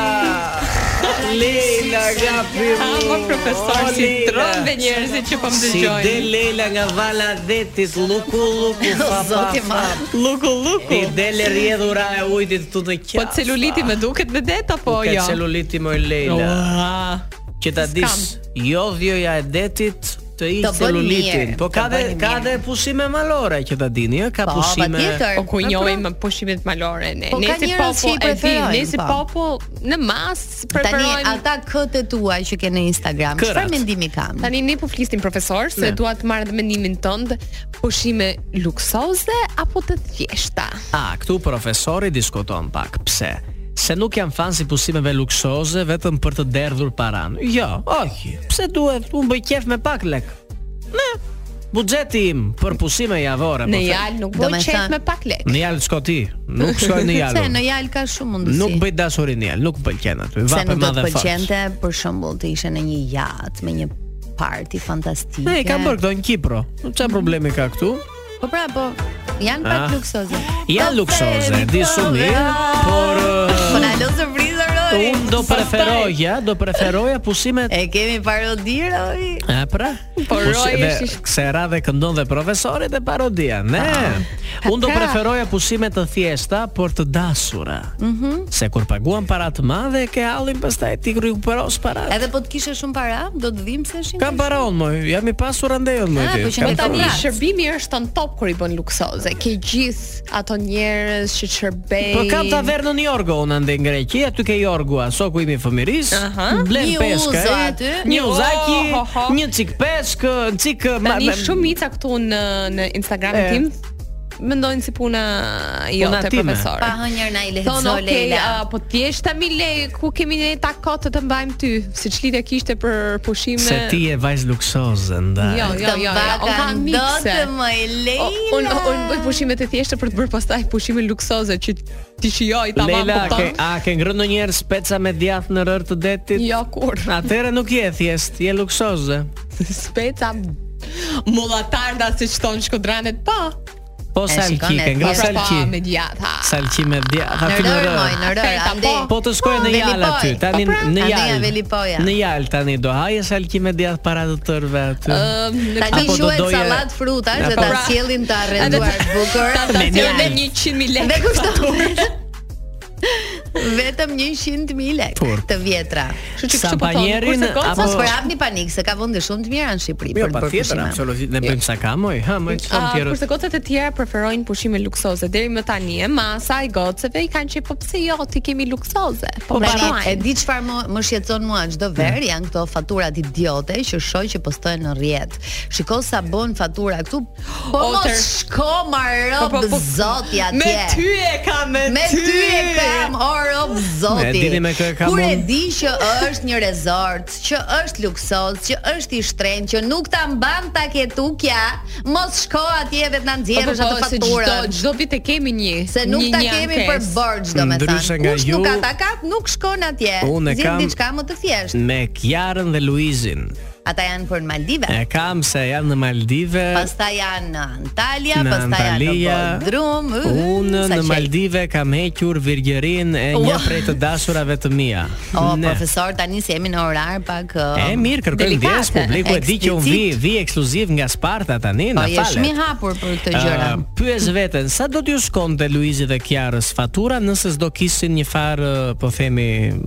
I: Leila gapi
H: Ah, po profesor
I: O,
H: si
I: Leila.
H: trombe njerëzit që po më
I: Si
H: dëgjojnë.
I: del Leila nga vala e detit, luku luku
G: O,
I: fa fa
G: zoti
I: fa.
G: madh.
H: Luku luku.
I: Ti del e rjedhura e ujtit tu të
H: Po
I: qafë.
H: celuliti më duket vedet apo
I: Ka
H: jo?
I: celuliti më Leila.
H: Ua.
I: Që ta
H: Skam.
I: dis, jodhjoja e detit të i
G: Të bën
I: celulitin.
G: mirë,
I: Po
G: të
I: ka dhe
G: bën
I: ka
G: mirë.
I: dhe pushime malore që ta dini, ë, ka
G: Po,
I: pushime.
G: patjetër.
H: Po ku
G: Po,
H: njohim me pushimet malore ne.
G: Po,
H: ne
G: ka
H: si
G: njerëz që i
H: popull e di,
G: preferojnë,
H: ne si
G: po.
H: popull në masë
G: Tani
H: preferojmë
G: ata këtë tua që ke në Instagram,
I: Kërat.
G: çfarë mendimi kam?
H: Tani ne po flisnim profesor se
I: Ne.
H: dua të marr dhe mendimin tënd, pushime luksoze apo të thjeshta?
I: A, këtu profesori diskuton pak. Pse? Se nuk janë fan si pusimeve luksoze vetëm për të derdhur paran. Jo, oj, pse duhet? Unë bëj qef me pak lek. Ne, buxheti im për pusime javore.
H: Në
I: po,
H: jalë nuk
G: Do
H: do
G: me
H: qet
G: thënë-
H: me pak lek.
I: the- Në jalë s'ko ti, nuk shkoj në jalë.
G: Se në jalë ka shumë mundësi.
I: Nuk bëj dashuri në jalë, nuk pëlqen aty.
G: se
I: Vape
G: nuk do të
I: madhe fort.
G: pëlqente për shembull të ishe në një yacht me një party fantastike.
I: Ne i kam bërë këto në Kipro. Çfarë problemi ka këtu?
G: Po pra, po janë pak
I: Ah.
G: luksoze.
I: Janë luksoze, di shumë mirë, por uh,
G: Po na lë surprizë Rori.
I: un do
G: Pastaj.
I: preferoja, do preferoja pusimet
G: E kemi parodi Rori.
I: E pra,
H: Po,
I: Kus-
H: Roy
I: dhe
H: është i sh-
I: Kse ra dhe këndon dhe profesorit dhe parodia Ne, unë do
H: Ata.
I: preferoja pusime të thjeshta Por të dasura Se kur paguan para të madhe Ke hallin pastaj ti rikuperos parat
G: Edhe po të kishe shumë para, do të dhimbseshin.
I: Kam para unë moj, jam i pasur andejon moj
G: Ah,
I: ti
G: po që
I: kam
G: ne
H: Tani
I: para.
G: Rrats.
H: shërbimi është on top kur i bën luksoze. Ke gjithë ato njerëz që shërbejnë.
I: Po kam tavernën në Jorgo unë ande në Greqi, aty ke Jorgua, soku im i fëmiris,
H: Aha.
I: blen
G: Një
I: peshkë,
G: uzo
I: e,
G: aty.
I: një
H: Oh,
I: uzaki,
H: ho, ho.
I: një cik peshkë, një cik... ma-
H: Tani
I: ma-
H: shumica këtu në në Instagramin
I: E.
H: tim mendojnë si puna jo
I: Puna
H: të
I: time.
H: profesor.
G: Pa hënjër na i
H: Thonë,
G: lehetëso
H: okej,
G: Leila.
H: a, po t'jeshta mi lej, ku kemi ne ta kotë të mbajmë ty, si që lidja kishte për pushime.
I: Se ti je vajz luksoze nda.
H: Jo, jo, jo,
G: Të
H: jo, unë
G: baka ndotë
H: kam mikse.
G: më i
H: O, Unë
G: Leila.
H: unë bëj pushime të thjeshta për të bërë pastaj pushime luksoze që ti shijoj tamam
I: Leila,
H: po
I: ke,
H: bën.
I: a ke ngrënë ndonjëherë speca me djath në rër të detit?
H: Jo kur.
I: Atëherë nuk je thjesht, je luksoze.
H: Speca mullatarda si që thonë shkodranet, pa.
I: Po
G: E,
I: salqi,
G: shikon, e
I: ke
H: Pa,
I: ngrënë
H: pra, pa, me
I: salqi.
H: djatha.
I: Salqi me djath
G: Në
I: aty në
G: rër, moj,
I: rër.
G: në rër,
H: Oferta,
G: ande.
I: Po të shkoj në
G: Veli
I: jal aty,
G: Poj.
I: tani
G: Po pra,
I: në
G: ande nga
I: jal.
G: Veli Poja.
I: Në jal tani do haje salqi me djath para të tërve aty.
H: Ëm, në
G: Tani
I: Apo do
G: quhet
I: doje-
G: sallat frutash
I: Ja,
G: dhe
I: po
G: ta
H: pra.
G: sjellin të arrenduar bukur.
H: Ta ta cilë
I: Me njalë.
H: 100.000 lekë.
G: Dhe kushton vetëm 100.000 lekë
I: Por.
G: të vjetra.
H: Kështu që kështu po thonë,
I: Sampanjerin,
H: kurse gocë,
I: apo-
G: Mos përhapni panik se ka vende shumë të mira në Shqipëri
I: Jo,
G: për të
I: pa
G: bërë
I: tjetër,
G: pushime.
I: absolutisht. Ne bëjmë sa ka, moj. Ha, moj, çfarë
H: A,
I: tjerë.
H: Ah, kurse gocat e tjera preferojnë pushime luksoze deri më tani e masa e gocave i kanë qenë po pse jo ti kemi luksoze po
G: Tani, Pra, e
H: parojnë
G: di çfarë më, më shqetëson mua çdo verë janë këto faturat idiote që shoh që postohen në rrjet. Shiko sa bën fatura këtu. Po
H: O,
G: mos
H: tër-
G: shko ma rob zoti atje.
H: Po, me ty e ka me,
G: Me ty e kam o rob zoti.
I: E dini me kë e kam
G: Kur e
I: unë?
G: di që është një resort, që është luksos, që është i shtrenjtë, që nuk ta mban ta ketukja, mos shko atje vetë na
H: Po po,
G: nxjerrësh atë
H: po, se çdo
G: faturën.
H: çdo vit e kemi një
G: Se nuk
H: një-
G: ta
H: një
G: kemi
H: ankesë.
G: për borxh, domethënë.
I: Ndryshe nga
G: Kush
I: ju-
G: nuk atakat, nuk shkon atje.
I: Unë e
G: Zgjidh
I: kam-
G: diçka më të thjeshtë.
I: Me Kiarën dhe Luizin.
G: Ata janë për Maldive.
I: E kam se janë në Maldive.
G: Pastaj janë në Antalja,
I: Në
G: pastaj janë në
I: Antalya.
G: Bodrum. ë,
I: Unë
G: sa
I: në
G: qej.
I: Maldive kam hequr virgjerin e një
G: Ua.
I: prej të dashurave të mia.
G: O,
I: Ne.
G: profesor, tani si jemi në orar pak...
I: E mirë, kërkoj
H: Delikate.
I: ndjes publiku e di që unë vi,
G: Eksplicit.
I: vi ekskluziv nga Sparta tani,
G: Po
I: na
G: je shumë i
I: falet.
G: hapur për këtë gjëra.
I: Uh, pyes veten, sa do t'ju shkonte Luizi dhe Kiarës fatura nëse s'do kishin një farë, ë, po themi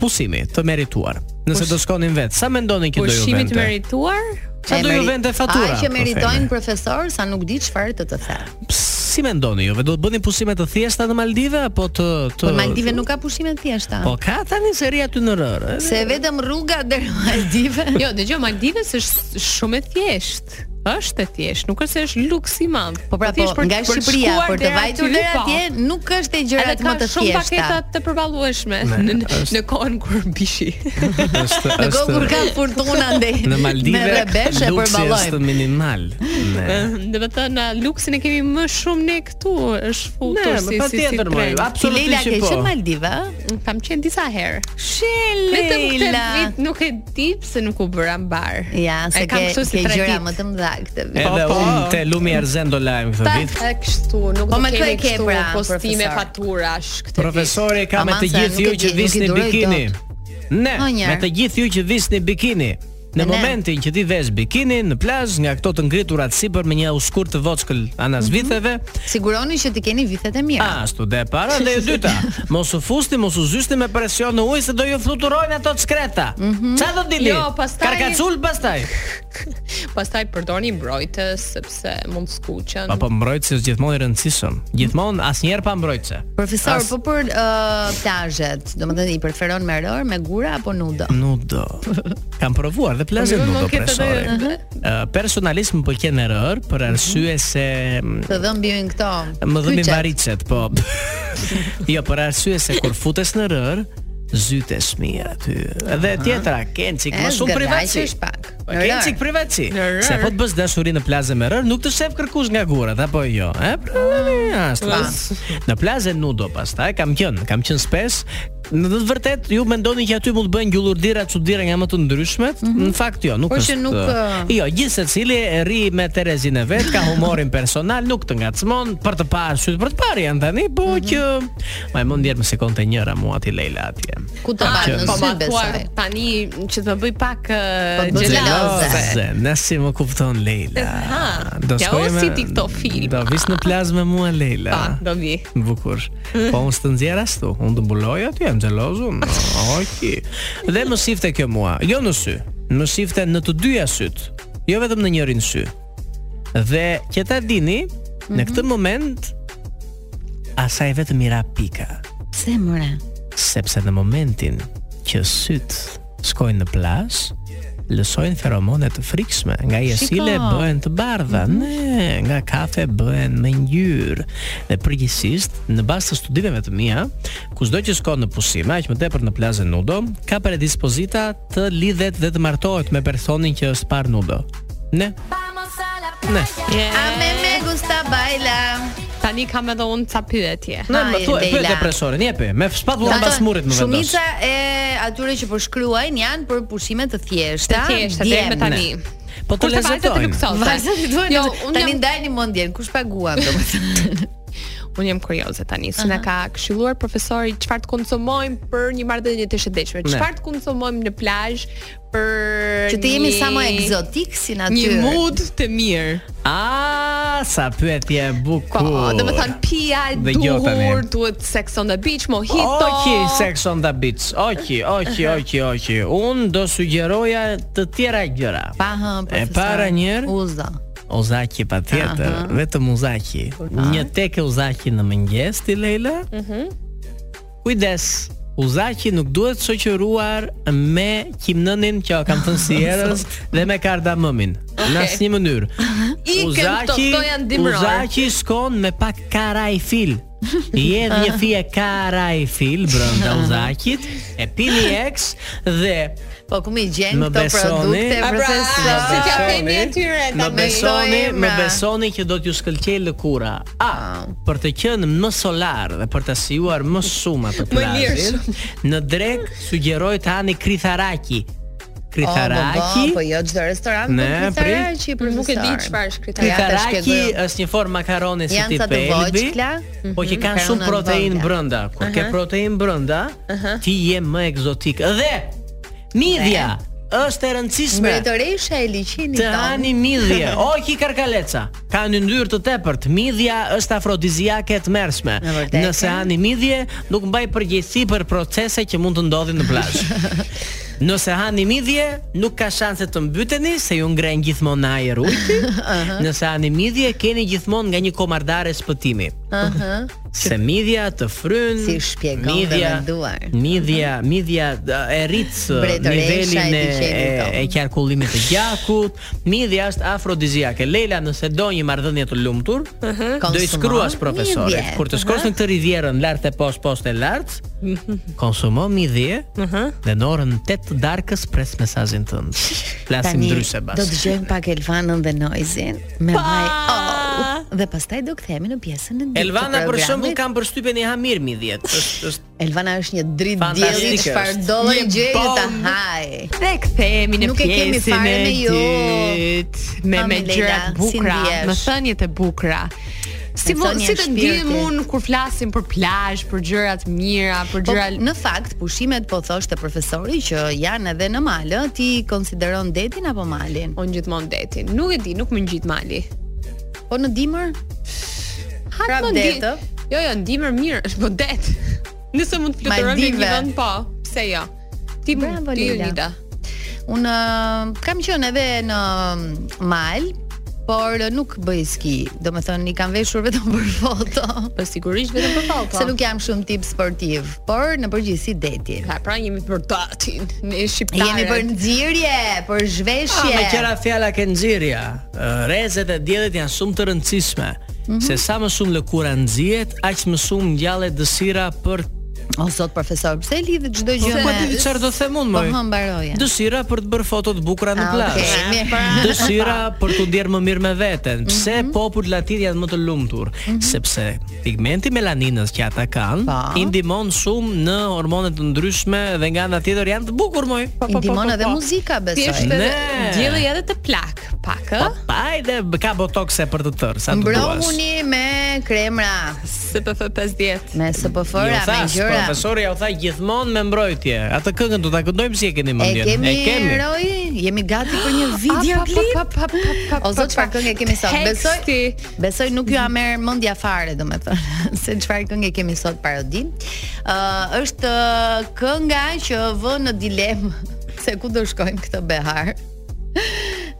I: pusimi të merituar. Nëse do shkonin vetë, sa mendoni që do ju
H: pushimit
I: vente?
H: merituar
I: Sa
G: E
I: do ju
G: meri-
I: vente fatura?
G: Ai që
I: po
G: meritojnë
I: themi?
G: profesor sa nuk di çfarë të të the.
I: Si mendoni juve, do të bëni pusime të thjeshta në Maldive apo të të
G: Por Po, Maldive nuk ka pushime të thjeshta.
I: Po ka tani seri aty në rër. e?
G: Se vetëm rruga deri në Maldive.
H: jo dëgjoj Maldives është shumë e thjeshtë është e thjeshtë, nuk është se është luks i madh.
G: Po pra po,
H: thjesht
G: nga
H: të
G: Shqipëria
H: shkuar
G: për të
H: deri
G: vajtur
H: aty,
G: deri
H: po.
G: atje nuk është e gjërat më të
H: Edhe ka shumë
G: thjeshta.
H: paketa të përballueshme në në kohën kur bishi.
I: Është
G: Në kohë kur ka fortuna ndej.
I: në Maldive
G: me rebesh e
I: luksi është
G: përballojmë.
I: minimal. Ne.
H: Do të thënë luksin e kemi më shumë ne këtu, është
I: Ne,
H: futur si
I: pa
H: si si
I: tjetër më,
G: Ti
H: trend.
G: Leila
I: absolutisht që
G: ke
I: po.
G: qenë Maldive?
H: Kam qenë disa herë. Vetëm këtë
G: Leila.
H: vit nuk e di pse nuk u bëra mbar.
G: Ja, se
H: E kam
G: ke
H: kështu si
G: ke
H: tre
G: gjëra
H: ditë.
G: më të mëdha këtë vit.
I: Edhe
H: Po, po.
I: unë te Lumi Erzen do lajm këtë
H: Ta
I: vit.
H: e kështu, nuk
G: Po
H: do
G: me kë e
H: kemi
G: ke
H: kështu
G: pra,
H: postime
G: profesor?
H: faturash këtë
I: Profesori ka me
G: Aman,
I: të
G: se nuk
I: gjithë
G: e di-
I: ju që
G: nuk i
I: visni
G: duroj
I: bikini.
G: dot.
I: Ne,
G: Honjer.
I: me të gjithë ju që visni bikini.
G: Ne.
I: Në momentin që ti vesh bikini në plazh nga këto të ngriturat sipër me një uskurt të vockël
G: Mhm.
I: anas viteve,
G: Siguroni që ti keni vitet e mira.
I: Ashtu dhe para dhe e dyta. Mos u fusni, mos u zyshni me presion në ujë se do ju fluturojnë ato çkreta. Çfarë do dili?
H: Jo, pastaj-
I: Karkacul pastaj.
H: ditë. Pastaj përdorni mbrojtës sepse mund skuqen.
I: Pa po mbrojtësi është gjithmonë i rëndësishëm. Gjithmonë asnjëherë pa mbrojtëse.
G: Profesor,
I: As-
G: po për uh, plazhet, domethënë i preferon me rër, me gura apo nudo?
I: Nuk do. Kam provuar dhe plazhet
H: Po,
I: nuk
H: më
I: do
H: ketë
I: presori.
H: edhe-
I: Ë, Personalisht më pëlqen në rër për arsye se mm,
G: Të dhëmbin këto.
I: Më dhëmi
G: kyçet.
I: varicet, po. jo, për arsye se kur futesh në rër, zytes mirë aty. Edhe tjetra, ken çik
G: E,
I: më shumë privatësi.
G: zgëdaqesh pak.
I: Po
G: Në
I: ken
G: rër.
I: çik privatësi.
H: Në rër.
I: Se po të bësh dashuri në plazë me rër, nuk të shef kërkush nga gurat apo jo, e? Pra, ashtu. Në plazë nudo pastaj kam qen, kam qen spes. Në të vërtet ju mendoni që aty mund të bëjnë gjullurdira çuditëra nga më të ndryshmet? Në fakt jo, nuk
G: Por Mhm. Po që
I: është.
G: nuk, ë,
I: Jo, gjithë secili e rri me Terezin e vet, ka humorin personal, nuk të ngacmon për të parë sytë për të parë janë tani, po
G: Mhm.
I: që majmund djerë më sekonte njëra mua aty Leila atje.
G: Ku të
H: Ah,
G: pat në
H: po
G: sy
H: ma
G: besoj.
H: thuar tani që të më bëj pak
G: Po të bëj
H: gjeloze.
G: gjeloze.
I: Se, na si më kupton Leila.
H: Ha, ja, o, si ti këto filma.
I: Do vis në plazë me mua Leila.
H: Pa, do vi.
I: Bukur. Po unë së të nxjerr ashtu, unë të mbuloj aty, jam xhelozu. Oki. Dhe më sifte kjo mua, jo në sy. Më sifte në të dyja syt, jo vetëm në njërin sy. Dhe që ta dini,
H: Mhm.
I: në këtë moment asaj vetëm i ra pika,
G: Pse more?
I: sepse në momentin që syt shkojnë në plazh, lësojnë feromone të frikshme, nga jesile
G: Shiko.
I: bëhen të bardha, ne, nga kafe bëhen me ngjyrë. Dhe përgjithsisht, në bazë të studimeve të mia, kushdo që shkon në pushime, aq më tepër në plazën nudo, ka predispozita të lidhet dhe të martohet me personin që është par nudo. Ne, ne.
G: A me me gusta baila.
H: Tani kam edhe unë ca pyetje.
I: Ne më
G: Hajde,
I: thuaj, pyet
G: Leila.
I: depresorin, jepi, me shpatullën
G: Kupton?
I: pas murit më vendos.
G: Shumica e atyre që po shkruajnë janë për pushime të thjeshta.
H: Të thjeshtë, deri me tani.
I: Ne. Po të
H: Kurse vajzat e
I: lezetojnë.
H: luksoze.
G: Vajzat i duhen.
H: Jo,
G: Jo,
H: unë
G: tani
H: jam,
G: ndajni mendjen, kush paguan domethënë.
H: unë jam kurioze tani. Si na ka këshilluar profesori çfarë të konsumojmë për një marrëdhënie të shëndetshme?
I: Ne.
H: Çfarë të konsumojmë në plazh për
G: Që të jemi
H: një-
G: sa më egzotik si
H: Një
G: natyrë.
H: mood të mirë.
I: A, sa pyetje e
H: Po,
I: bukur.
H: do të thënë pija e
I: Dhe jo tani.
H: duhur, duhet sex on the beach, mojito.
I: Oki, sex on the beach. Oki, oki, oki, oki. Unë do sugjeroja të tjera gjëra.
G: Pa hë, po
I: E
G: profesor.
I: para njerë,
G: Uzo.
I: Ozaki pa tjetër,
G: Aha.
I: vetëm Ozaki. Një tek e Ozaki në mëngjes ti Leila. Kujdes. Uzaki nuk duhet shoqëruar me kimnënin që o kam thënë si erës dhe me kardamomin. Në asnjë mënyrë.
H: Ikën këto, këto janë dimror.
I: Uzaki skon me pak karajfil. Jedh një fije karajfil brenda Uzakit, e pini eks dhe
G: Po ku mi gjen
I: Më
G: këto
I: besoni?
G: produkte
I: A pra,
G: profesor?
H: si t'ja
I: besoni?
H: themi atyre
I: Më
H: tani?
I: besoni,
G: Këto
I: më
G: emra.
I: besoni që do t'ju shkëlqej lëkura. A, për të qenë më solar dhe për të sijuar më shumë atë plazhin, në drek sugjeroj të hani kritharaki.
G: O, po, po,
I: Kritharaki.
G: po jo çdo restorant
I: Ne,
G: me kritharaqi
H: Unë
G: profesor.
H: Nuk e di çfarë është kriteri.
G: Ja, të
I: Kritharaki
G: shpjegoj.
I: është një formë makaroni si
G: Janë
I: tip
G: ca të Mhm,
I: elbi,
G: voçkla,
I: po që kanë shumë
G: makaronat
I: protein
G: vogla.
I: brenda. Kur ke protein brenda, ti je më egzotik. Dhe midhja është e rëndësishme.
G: Mbretëresha e liqinit
I: Të
G: tonë.
I: hani midhje, o ki karkaleca. Ka një ndyrë të tepërt. Midhja është afrodiziake e tmerrshme.
G: Në vërtetë?
I: Nëse hani midhje, nuk mbaj përgjegjësi për procese që mund të ndodhin në plazh. Nëse hani midhje, nuk ka shanse të mbyteni se ju ngren gjithmonë në ajër ujti. Nëse hani midhje, keni gjithmonë nga një komardare shpëtimi. Se midhja të fryn,
G: Si shpjegon dhe menduar.
I: Midhja, midhja d- e rrit uh,
G: Bretoresha
I: nivelin
G: e
I: e,
G: liqenit
I: e,
G: tonë.
I: e qarkullimit të gjakut. Midhja është afrodiziake. Leila, nëse do një marrëdhënie të lumtur, do i
G: Konsumo
I: shkruash profesorit.
G: midhje.
I: Kur të shkosh në këtë rivjerën lart e poshtë, poshtë e lart, konsumo midhje dhe në orën 8 të darkës pres mesazhin tënd. Flasim
G: Tani
I: ndryshe bas.
G: do të gjejmë pak Elvanën dhe Noizin me vaj. Oh, dhe pastaj do kthehemi në pjesën e dytë. të
I: Elvana për shembull
G: programit.
I: kam përshtypjen e ha mirë midhjet. Është është
G: Elvana është një dritë
I: Fantastike
G: dielli
I: është.
G: çfarë do lloj
I: Një
G: gjëje ta
I: bombë.
G: haj.
H: Dhe kthehemi në
G: Nuk e kemi
H: pjesën
G: fare
H: e
G: me ju.
H: dytë, me me
G: Mami Leila,
H: gjëra të
G: si
H: bukura,
G: ndihesh?
H: me thënjet e bukura. Si
G: Me
H: mo,
G: thënje
H: si të
G: shpirti.
H: ndihem unë kur flasim për plazh, për gjëra të mira, për
G: Po,
H: gjëra
G: në fakt pushimet po thoshte profesori që janë edhe në mal, ë, ti konsideron detin apo malin?
H: unë gjithmonë detin. Nuk e di, nuk më ngjit mali.
G: Po në dimër?
H: Hatë
G: Prap
H: më
G: det,
H: ngjit.
G: ë?
H: Jo, jo, ndimër mirë, është po det. Nëse mund të fluturojmë në
G: Maldive.
H: një vend, po, pse jo? Ti
G: Bravo,
H: ti
G: Leila.
H: Unida.
G: Unë ë, kam qenë edhe në mal, por ë, nuk bëj ski. Domethënë i kam veshur vetëm për foto.
H: Po sigurisht vetëm për po.
G: Se
H: falta.
G: nuk jam shumë tip sportiv, por në përgjithësi deti.
H: Ka pra jemi për datin, ne shqiptarët.
G: Jemi për nxirje, për
I: Ah,
G: zhveshje.
I: me qëra fjala ke nxirja. Ë, Rrezet e diellit janë shumë të rëndësishme.
G: Mhm.
I: Se sa më shumë lëkura nxihet, aq më shumë ngjallet dëshira për
G: O zot profesor, pse e lidhet çdo gjë
I: Po,
G: Jo, me?
I: po, di çfarë do të them unë,
G: Po
I: moj.
G: hë mbaroje.
I: dëshira për të bërë foto të bukura në
G: Ah,
I: plazh.
G: okay, mirë. Mhm.
I: Dëshira për të ndjerë më mirë me veten. Pse popujt latin janë më të lumtur? Sepse pigmenti melaninës që ata kanë
G: Pa.
I: i ndihmon shumë në hormone të ndryshme dhe nga ana tjetër janë të bukur Po, moj.
G: I ndihmon edhe muzika
H: Thjesht
G: besoj.
H: edhe
I: Ne.
H: dielli edhe të plak pak, ë?
G: Po.
I: Hajde, ka botokse për të tërë, sa të duash.
G: Mbromuni me kremra,
H: SPF 50.
G: me
I: Jo
G: SPF-ra, me
I: thash,
G: gjëra.
I: profesori ja u tha gjithmonë me mbrojtje. Atë këngën do ta këndojmë si e Ah, keni
G: E
I: mendjen.
G: kemi, Roy, jemi gati për një video klip. O zot çfarë këngë kemi sot? Besoj
H: Teksti.
G: Besoj nuk ju a merr mendja fare domethënë se çfarë këngë kemi sot parodin. Ë është ë, kënga që vë në dilemë se ku do shkojmë këtë behar.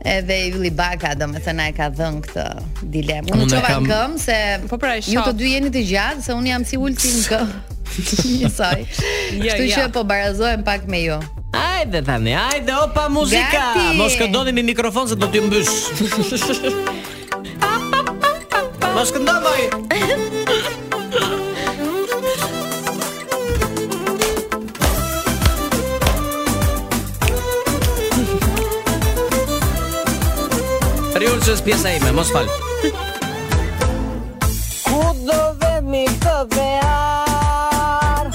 G: Edhe Ylli Baka domethënë ai ka dhënë këtë dilemë. Unë
I: Unë e
G: çova
I: kam-
G: këmbë se
H: Po pra, e
G: ju të
H: shoh.
G: dy jeni të gjatë se unë jam si ulti në këmbë. Njësoj.
H: Jo,
G: Kështu
H: jo.
G: që po barazohem pak me ju.
I: Ajde tani, ajde opa muzika.
G: Gati.
I: Mos këndoni me mikrofon se do t'ju mbysh. Mos këndo moj. Riul që është pjesa ime, mos fal.
B: Ku do vemi të vear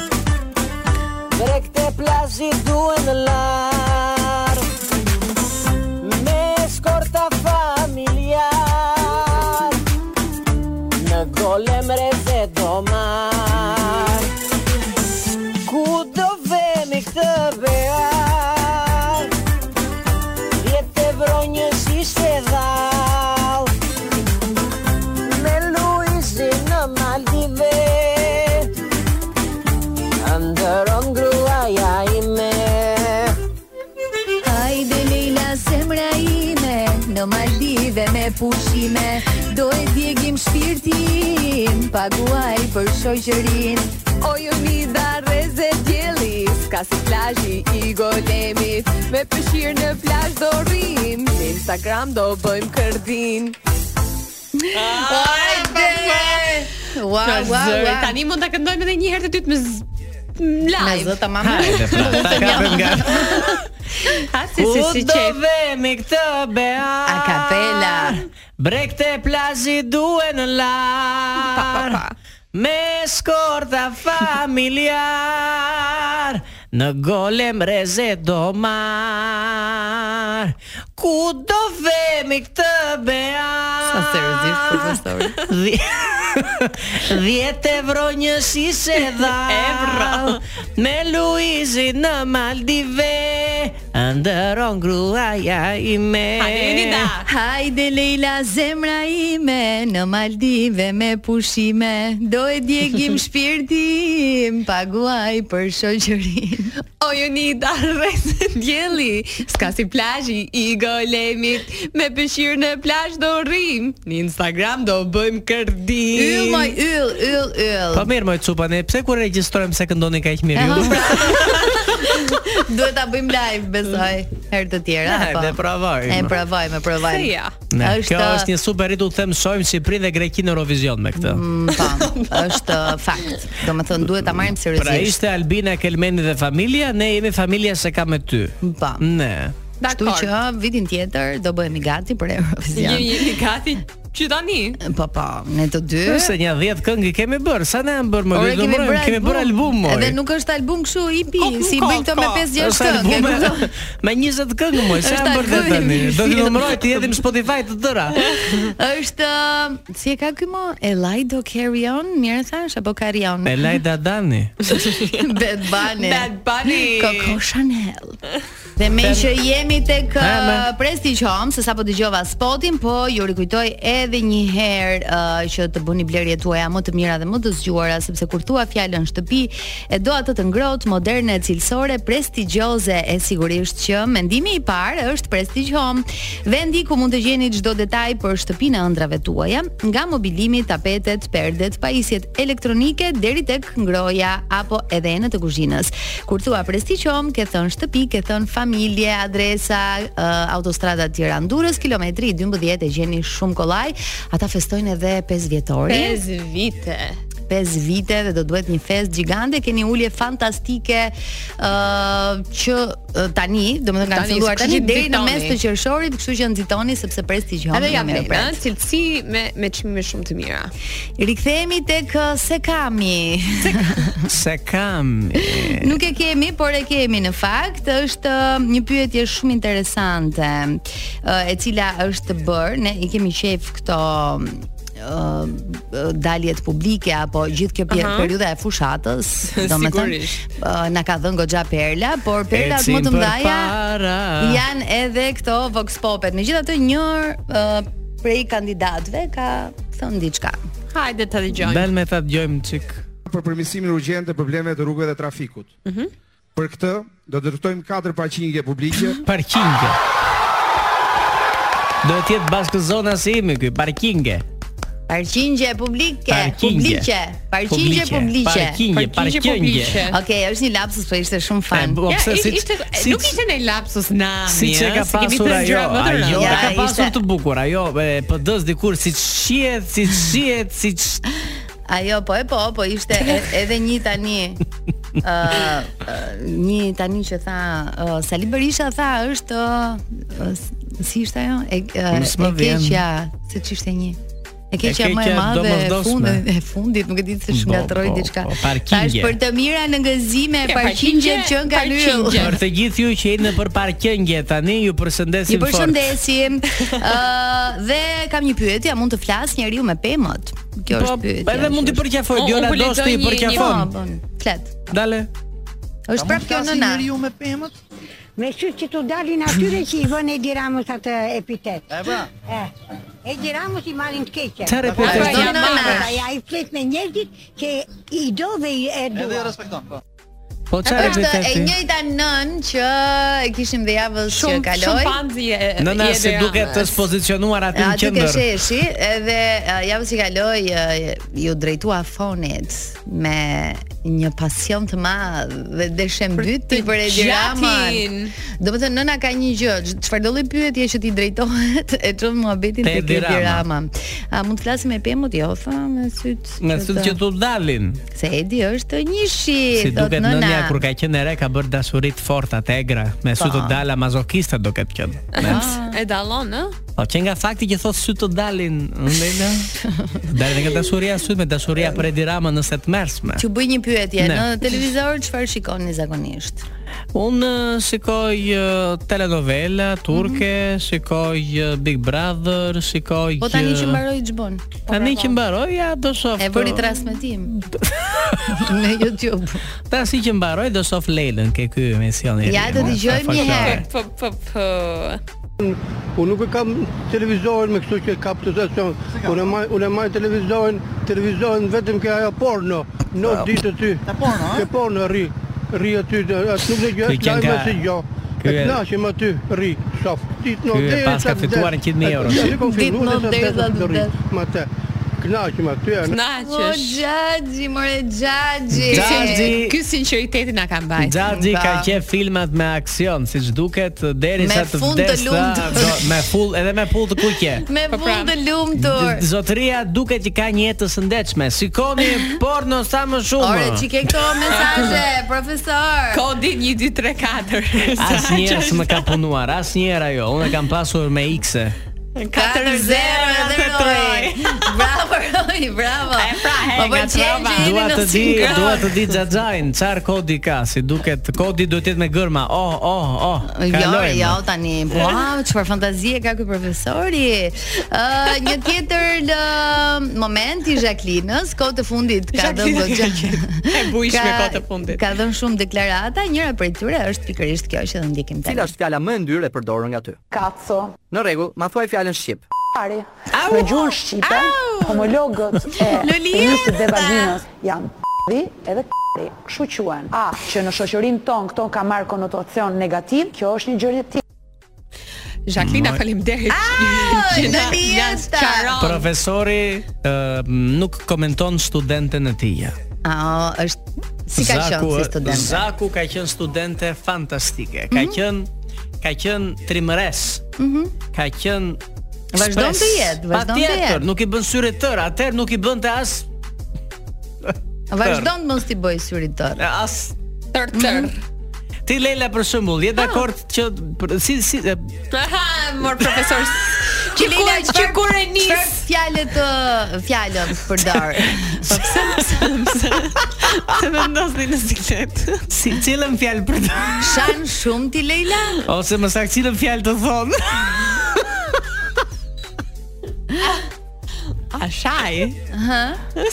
B: Drek të plazit duen në lar Me shkorta familjar Në golem reze do mar Ku do vemi këtë vear Vjetë e vronjës ishte dhal me Luisi në Maldive Ndëron gruaja ime
D: Hajde Leila zemra ime Në Maldive me pushime Do e djegim shpirtin Paguaj për shoqërin O ju një da reze djeli Ska si plajji i golemit Me pëshirë në plajsh do rrim Në Instagram do bëjmë kërdin
G: Wow, wow, wow.
H: Tani mund ta këndojmë edhe një herë të dytë me z- m-
G: Me
H: live.
G: zë tamam.
I: Hajde, pra, ta kapëm nga.
H: Ha si si si
I: do
H: qef.
I: vemi këtë bear?
G: A capella.
I: Brekte plazit duen në lar
H: Pa, pa, pa.
I: Me skorta familjar Në golem reze do mar Ku do vemi këtë bear
G: Sa seriozisht po pastori.
I: Dhi- Dhjetë evro një shishe dha
H: Evro.
I: Me Luizi në Maldive Ndëron gruaja ime
H: Hajde
G: Ah.
H: da.
D: Hajde Leila zemra ime Në Maldive me pushime Do e djegim shpirtim Paguaj për shoqërin
H: O ju një darës djeli Ska si plajji i golemit Me pëshirë në plajsh do rrim Në Instagram do bëjmë kërdin
G: Yll moj yll yll yll.
I: Po mirë moj cupa, ne pse kur regjistrojmë se këndoni kaq mirë ju?
G: Duhet ta bëjmë live besoj herë të tjera
I: Hajde,
H: pra.
G: apo.
I: provojmë.
G: E provojmë, e provojmë.
H: Se ja.
I: Ne, kjo është një Ναι, super ritull them shojmë Shqipërinë dhe Greqinë në Eurovision me këtë.
G: Mm, po, është uh, fakt. Domethënë duhet ta marrim
I: Pra
G: seriozisht.
I: ishte Albina Kelmeni dhe familja, ne jemi familja se ka me ty.
G: Po.
I: Ne.
G: Kështu
H: Dakor.
G: që vitin tjetër do bëhemi gati për
H: Jemi
G: Eurovision.
H: jemi gati që tani
G: Po po, ne të dy.
I: Nëse një 10 këngë i kemi bërë, sa ne më bërë më
G: Ore
I: vjen
G: kemi bërë
I: kemi bërë album moj.
G: Edhe nuk është album kështu i pi,
H: Kokë,
G: si i
H: kokë,
G: bëjnë këto me
H: kokë.
G: 5-6
I: është
G: këngë. e
I: album
G: kupton?
I: me, me 20 këngë moj, sa
G: Është
I: janë bërë dhe
G: album
I: tani.
G: i
I: Do t'i
G: mirë.
I: numëroj ti jetim Spotify të tëra.
G: Është ë, si e ka ky mo? Elaido Carry On, mirë thash apo Carry On?
I: Elajda Dani.
G: Bad Bunny.
H: Bad Bunny.
G: Coco Chanel. Dhe me që jemi tek
I: Ha,
G: uh, Prestige Home, se sapo dëgjova spotin, po ju rikujtoj edhe një herë uh, që të bëni blerjet tuaja më të mira dhe më të zgjuara, sepse kur thua fjalën shtëpi, e do atë të ngrohtë, moderne, cilësore, prestigjioze, e sigurisht që mendimi i parë është Prestige Home, vendi ku mund të gjeni çdo detaj për shtëpinë e ëndrave tuaja, nga mobilimi, tapetet, perdet, pajisjet elektronike deri tek ngroja apo edhe enët e kuzhinës. Kur thua Prestige Home, ke thënë shtëpi, ke thënë familje, adresa, uh, autostrada Tiranë-Durrës, kilometri 12 e gjeni shumë kollaj. Ata festojnë edhe 5 vjetorin.
H: 5 vite
G: 5 vite dhe do duhet një fest gjigande, keni ulje fantastike ë që ë, tani, domethënë kanë
H: Tani,
G: filluar tani
H: kështu që
G: deri në
H: nxitoni.
G: mes të qershorit, kështu që nxitoni sepse Prestige Home.
H: Edhe
G: në
H: jam
G: mirë
H: lena,
G: pres.
H: cilësi me, me qmime shumë të mira
G: Rikthehemi tek ë, Sekami.
I: Se kam.
G: Nuk e kemi, por e kemi në fakt. Është ë, një pyetje shumë interesante, ë, e cila është bërë, ne i kemi qef këto ë, daljet publike apo gjithë kjo pje- periudha e fushatës, domethënë
H: Sigurisht.
G: ë, na ka dhënë goxha perla, por perlat
I: Ecim
G: më të
I: për
G: mëdha
I: para.
G: janë edhe këto vox popet. Megjithatë një ë, prej kandidatëve ka thënë diçka.
H: Hajde të dëgjojmë
I: Dal me ta dëgjojmë çik.
J: për përmirësimin urgjent të problemeve të rrugëve dhe trafikut.
G: Mhm.
J: Për këtë do dërtojmë katër parqingje publike
I: Parkinge. Do të jetë bashkë zona si imi ky, parkinge.
G: Parqingje publike,
I: Parqingje.
G: publiqe, parqingje publiqe.
I: Parqingje, parqingje.
G: Okej, është një lapsus, po ishte shumë fan.
I: po, Ja, pse, i- si-
H: Ishte, nuk ishte në lapsus na.
I: Si që ka pasur ajo, ajo
G: Ja,
I: e ka pasur
G: ishte-
I: të bukur, ajo e PD-s dikur si shihet, si shihet, si
G: Ajo po e po, po ishte e- edhe një tani. ë ë, një tani që tha uh, Sali Berisha tha është ë, s- si ishte ajo? E, ë,
I: Mos më
G: e
I: vjen.
G: keqja, se ç'ishte një. E keqja më e
I: keqja
G: madhe e
I: domosdoshme.
G: fundit, e fundit, nuk e di se
I: Po,
G: shkatroi
I: po,
G: diçka.
I: po,
G: Tash
I: parkingje.
G: për të mira në gëzime,
H: Ja,
G: parkingje
H: parkingje,
G: që nga yll.
H: parkingje.
I: Për të gjithë ju që jeni nëpër parkingje tani ju
G: Ju
I: përshëndesim fort.
G: përshëndesim. Ë dhe kam një pyetje, a mund të flas njeriu me pemët? Kjo
I: Po,
G: është pyetja.
I: edhe mund t'i përqafoj,
H: Unë-
I: Diona
H: unë po
I: do të i
H: lexoj një- një-
I: përqafon.
G: Po, bon, flet.
I: Dale.
G: Është prapë kjo nëna.
B: me pemët?
D: Me që që të dalin atyre që i vënë Edi Ramos atë epitet.
B: E pra.
D: E, Edi Ramos i marrin të keqe.
I: Çfarë po
G: Ajo
I: të
G: është nëna.
D: Ai ai flet me njerëzit që i do dhe i e
B: Edhe e
D: do.
B: respekton. po.
I: Po çfarë po
G: Është e
I: të
G: njëjta nën që e kishim dhe javës që
H: Shumë
G: kaloi.
H: shumë fanzi e
I: Nëna
H: e
I: se
H: Edi
I: duket
H: Ramës.
I: të pozicionuar aty në
G: Aty ke
I: qendër.
G: sheshi, edhe e, javës që kaloi e, ju drejtua fonit me një pasion të madh dhe deshem dyti
H: të
G: për Edi Ramën.
H: gjatin.
G: Do të thënë nëna ka një gjë, çfarë do lloj pyetje që ti drejtohet e çon muhabetin
I: Te
G: tek
I: Edi
G: Edi
I: Rama.
G: Rama. A mund të flasim me pemut? Jo, tha me syt.
I: Nga sytë që tu dalin
G: se Edi është një shi,
I: Si
G: thot
I: duket
G: nëna.
I: nënja kur ka qenë e re Ka bërë dashurit forta të egra Me sy të dala mazokista duket qenë Me-
H: E dallon, ë?
I: Po që nga fakti që thotë sy të dalin Ndejna Dalin nga dashuria sytë me dashuria për Edi Rama nëse të mersme
G: Që bëj një pyetje,
I: Ne.
G: në televizor çfarë shikoni zakonisht?
I: Unë eh, shikoj eh, telenovela turke Shikoj eh, Big Brother Shikoj
G: Po tani
I: eh,
G: që mbaroi ç'bën?
I: Tani që mbaroj ja do shoh
G: E
I: të-
G: bëri transmetim në YouTube.
I: Tasi që mbaroj do shoh Leilën ke ky emision i
G: Ja,
I: ri,
G: do
I: mua,
G: dëgjojmë
I: sa
G: një
I: faktore.
G: herë.
H: Po po po.
E: Unë nuk e kam televizorin me kështu që kap të stacion. Unë e maj unë e maj televizorin, televizorin vetëm ke ajo porno. Në ditë ty. Ke porno,
I: eh?
E: Ke porno rri. Rri aty, të- atë nuk e gjë,
I: Ky qen
E: lajmë
I: ka-
E: se gjë.
I: ky
E: E
I: e-
E: knaqem aty, rri, shof. Ditë në
I: Ky e
E: derë.
I: pas ka fituar 100.000 euro.
G: Ditë në derë, sa të vdes.
E: Ma te. Knaqem aty. e në-
G: O
H: Knaqesh.
G: Xhaxhi, more Xhaxhi.
I: Xhaxhi.
H: Ky sinqeriteti na ka mbajtur.
I: Xhaxhi ka
G: Ta.
I: qef filmat me aksion, siç duket derisa
G: Me
I: të
G: fund të
I: vdes. ta-
G: lumtur.
I: do- Me full edhe me full të kuqe.
G: Me
H: Po pra.
G: vend të lumtur.
I: D- Zotëria duket që ka një jetë të shëndetshme. Sikoni porno sa më
G: Ore,
I: shumë.
G: që ke këto mesazhe, profesor.
H: Kodi 1 2 3 4.
I: Asnjëherë s'më ka punuar, asnjëherë ajo. Unë e kam pasur me X-e.
G: 4-0 dhe Roy. Bravo Roy, bravo.
H: E pra, he,
G: Po
H: nga
G: pëlqen
H: trova.
G: që jeni
I: Dua
G: në
I: të di,
G: sinkron.
I: dua të di Xhaxhain, çfarë kodi ka, si duket. Kodi duhet të jetë me gërma. Oh, oh, oh.
G: Jo,
I: kalojmë.
G: jo tani. Wow, çfarë fantazie ka ky profesori. Ë, një tjetër lë, moment i Jacqueline-s, kohë të fundit ka dhënë
H: Jacqueline
G: goxha.
H: e bujshme kohë të fundit.
G: Ka dhënë shumë deklarata, njëra prej tyre është pikërisht kjo që do ndjekim
K: Cila
G: tani.
K: është fjala më e ndyrë e përdorur nga ty?
B: Kaco,
K: Në rregull, ma thuaj fjalën shqip.
B: pari, në gjurë Shqipe, homologët e
G: Lolia!
B: feministët dhe vaginës janë p***dhi edhe k***dhi. Kështu quhen. A, që në shoqërinë tonë këto ka marrë konotacion negativ, kjo është një gjë tjetër.
H: Jacqueline, faleminderit. që na-
G: Lolia
H: na
G: sta.
H: sqaron.
I: Profesori ë, nuk komenton studentën e tij.
G: Ah, është si ka qenë si student.
I: Zaku ka qenë studente fantastike. Ka
G: Mhm.
I: qenë ka qenë trimëres. Mhm. ka qenë
G: Vazhdon
I: ekspres.
G: të jetë, vazhdon të
I: Patjetër,
G: jetë.
I: nuk i bën syre tër, atëherë nuk i bënte as
G: Vazhdon të mos t'i bëj syrit tërë.
I: as
H: Tër tër.
I: Ti Leila për shembull, je
G: Ah.
I: dakord që për- si si e,
H: Aha, mor profesor. Që
G: Leila,
H: kur që
G: çfarë-
H: kur e nis.
G: Çfarë fjalë të fjalën përdor?
H: Se vendosni në siklet.
I: si cilën fjalë për të
G: Shan shumë ti Leila?
I: ose më saktë cilën fjalë të thonë.
H: A shaj?
G: Hë?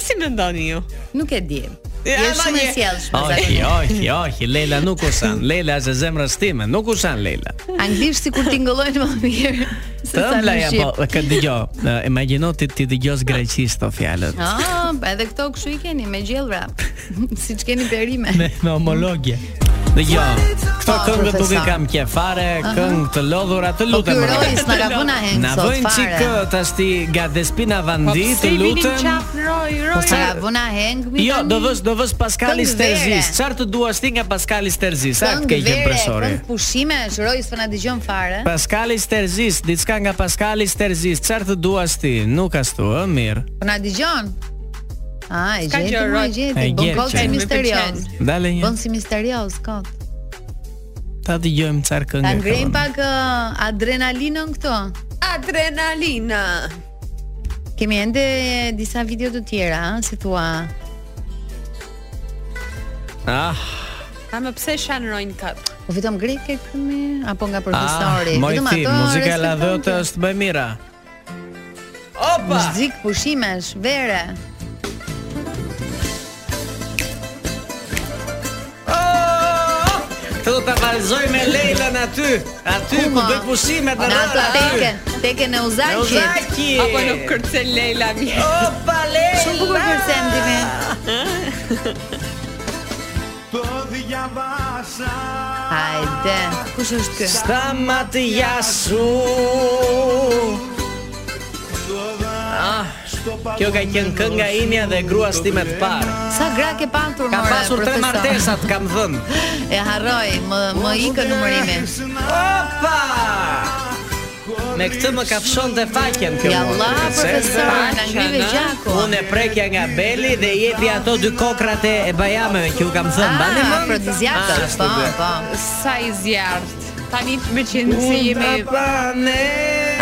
H: Si mendoni ju?
G: Nuk e di.
H: Ja,
G: Je
H: ma
G: shumë e
H: je.
G: sjellshme.
I: Ohi, ohi, ohi, Leila nuk usan. Leila është e zemrës time, nuk usan Leila.
G: Anglisht sikur ti ngëllojnë më mirë. Se
I: Të
G: sa në
I: mblaja
G: shqip.
I: po, ka dëgjoj. e, Imagjino ti ti dëgjosh greqisht to fjalët.
G: Ah, edhe këto kështu i keni me gjellra. Siç keni perime.
I: Me, me homologje. Dëgjoj. Këto
G: Po,
I: këngë
G: profesor.
I: nuk i kam qe fare,
G: Aha.
I: këngë të lodhura, të lutem.
G: ky
I: më
G: Royce
I: lodh.
G: na Po ka vënë aheng
I: Na
G: sot
I: vënë
G: fare.
I: çik tash ti Gadespina Vandi, të lutem.
H: Roj,
G: Po sa na vëna heng mi.
I: Jo, do vësh do vësh Paskali
G: Këngë
I: Sterzis.
G: vere.
I: Çfarë të duash ti nga Paskali Sterzis? Sa
G: Këngë
I: të keq
G: vere,
I: impresori.
G: këngë pushimesh, Royce po na dëgjon fare.
I: Paskali Sterzis, diçka nga Paskali Sterzis. Çfarë të duash ti? Nuk ashtu, ë, mirë.
G: Po na dëgjon. Ah, e
H: S'ka
G: gjeti,
H: gjë,
G: më e
H: Royce.
G: gjeti. Bën
I: E gjeti.
G: kokë si
I: Me
G: misterios.
I: Dale një.
G: Bën si misterios kot.
I: Ta dëgjojmë çfarë këngë.
G: Ta
I: ka
G: ngrejm
I: vënë.
G: pak ë, adrenalinën këto.
H: Adrenalina.
G: Kemi ende disa video të tjera, ëh, si thua.
I: Ah,
H: A më pse shanrojnë kat?
G: Po vetëm greke kemi apo nga profesori?
I: moj
G: Vetëm
I: ti,
G: ato
I: Ah, muzika e
G: respektojnë
I: ladhëtë
G: të-
I: është më mira.
L: Opa!
G: Muzik pushimesh, vere.
L: Oh!
I: Të do ta vallëzoj me Leilën aty, aty ku
G: Kuma.
I: bëj pushimet në
G: Në ato
I: rrugë aty.
G: teke, teke në uzaqit.
I: Ozaki.
H: Apo nuk kërcen Leila mirë.
L: Opa Leila!
G: Shumë bukur kërcem ti me. Hajde, kush është ky?
I: Stamat jasu. Ah, kjo ka qenë kënga imja dhe gruas time të parë.
G: Sa gra ke patur more?
I: Ka pasur tre
G: profesor?
I: martesat, kam thënë.
G: E harroj, më më ikën numërimi.
I: Opa! Me këtë më kafshon të faqen kjo.
G: Ja
I: mua,
G: Allah,
I: kërcen.
G: profesor, na ngrive gjaku.
I: Unë e prekja nga beli dhe i jepi ato dy kokrat e e bajameve që u kam thënë. Bani
G: Ah,
I: më.
G: afrodiziakë, po, po.
H: Sa i zjarrt. Tani me qenë se jemi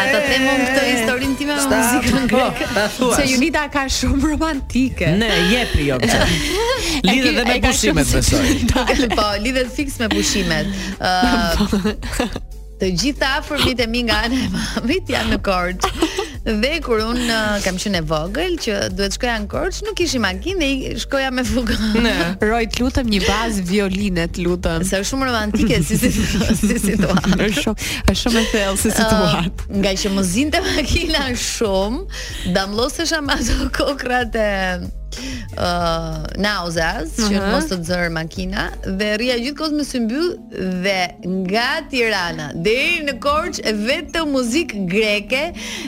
G: A të them unë këtë historinë time me muzikën greke.
I: Ta thuash.
H: Se Junita ka shumë romantike.
I: Ne jepi jo. këtë. Lidhet edhe me pushimet besoj.
G: Po, lidhet fiks me pushimet. Ë Të gjitha afërmit e mi nga ana e mamit janë në Korçë. Dhe kur un uh, kam qenë e vogël që duhet shkoja në Korçë, nuk kishim makinë dhe i- shkoja me fugën.
H: Roj, të lutem një bazë violine, të lutem.
G: Sa është shumë romantike si si, si situatë.
H: Është shumë është shumë e thellë si situatë.
G: Ë, nga që më zinte makina shumë, damllosesha me ato kokrat e uh, nauzas, që
H: Aha.
G: mos të zërë makina, dhe rria gjithkohës me sy mbyll dhe nga Tirana deri në Korçë e vetëm muzikë greke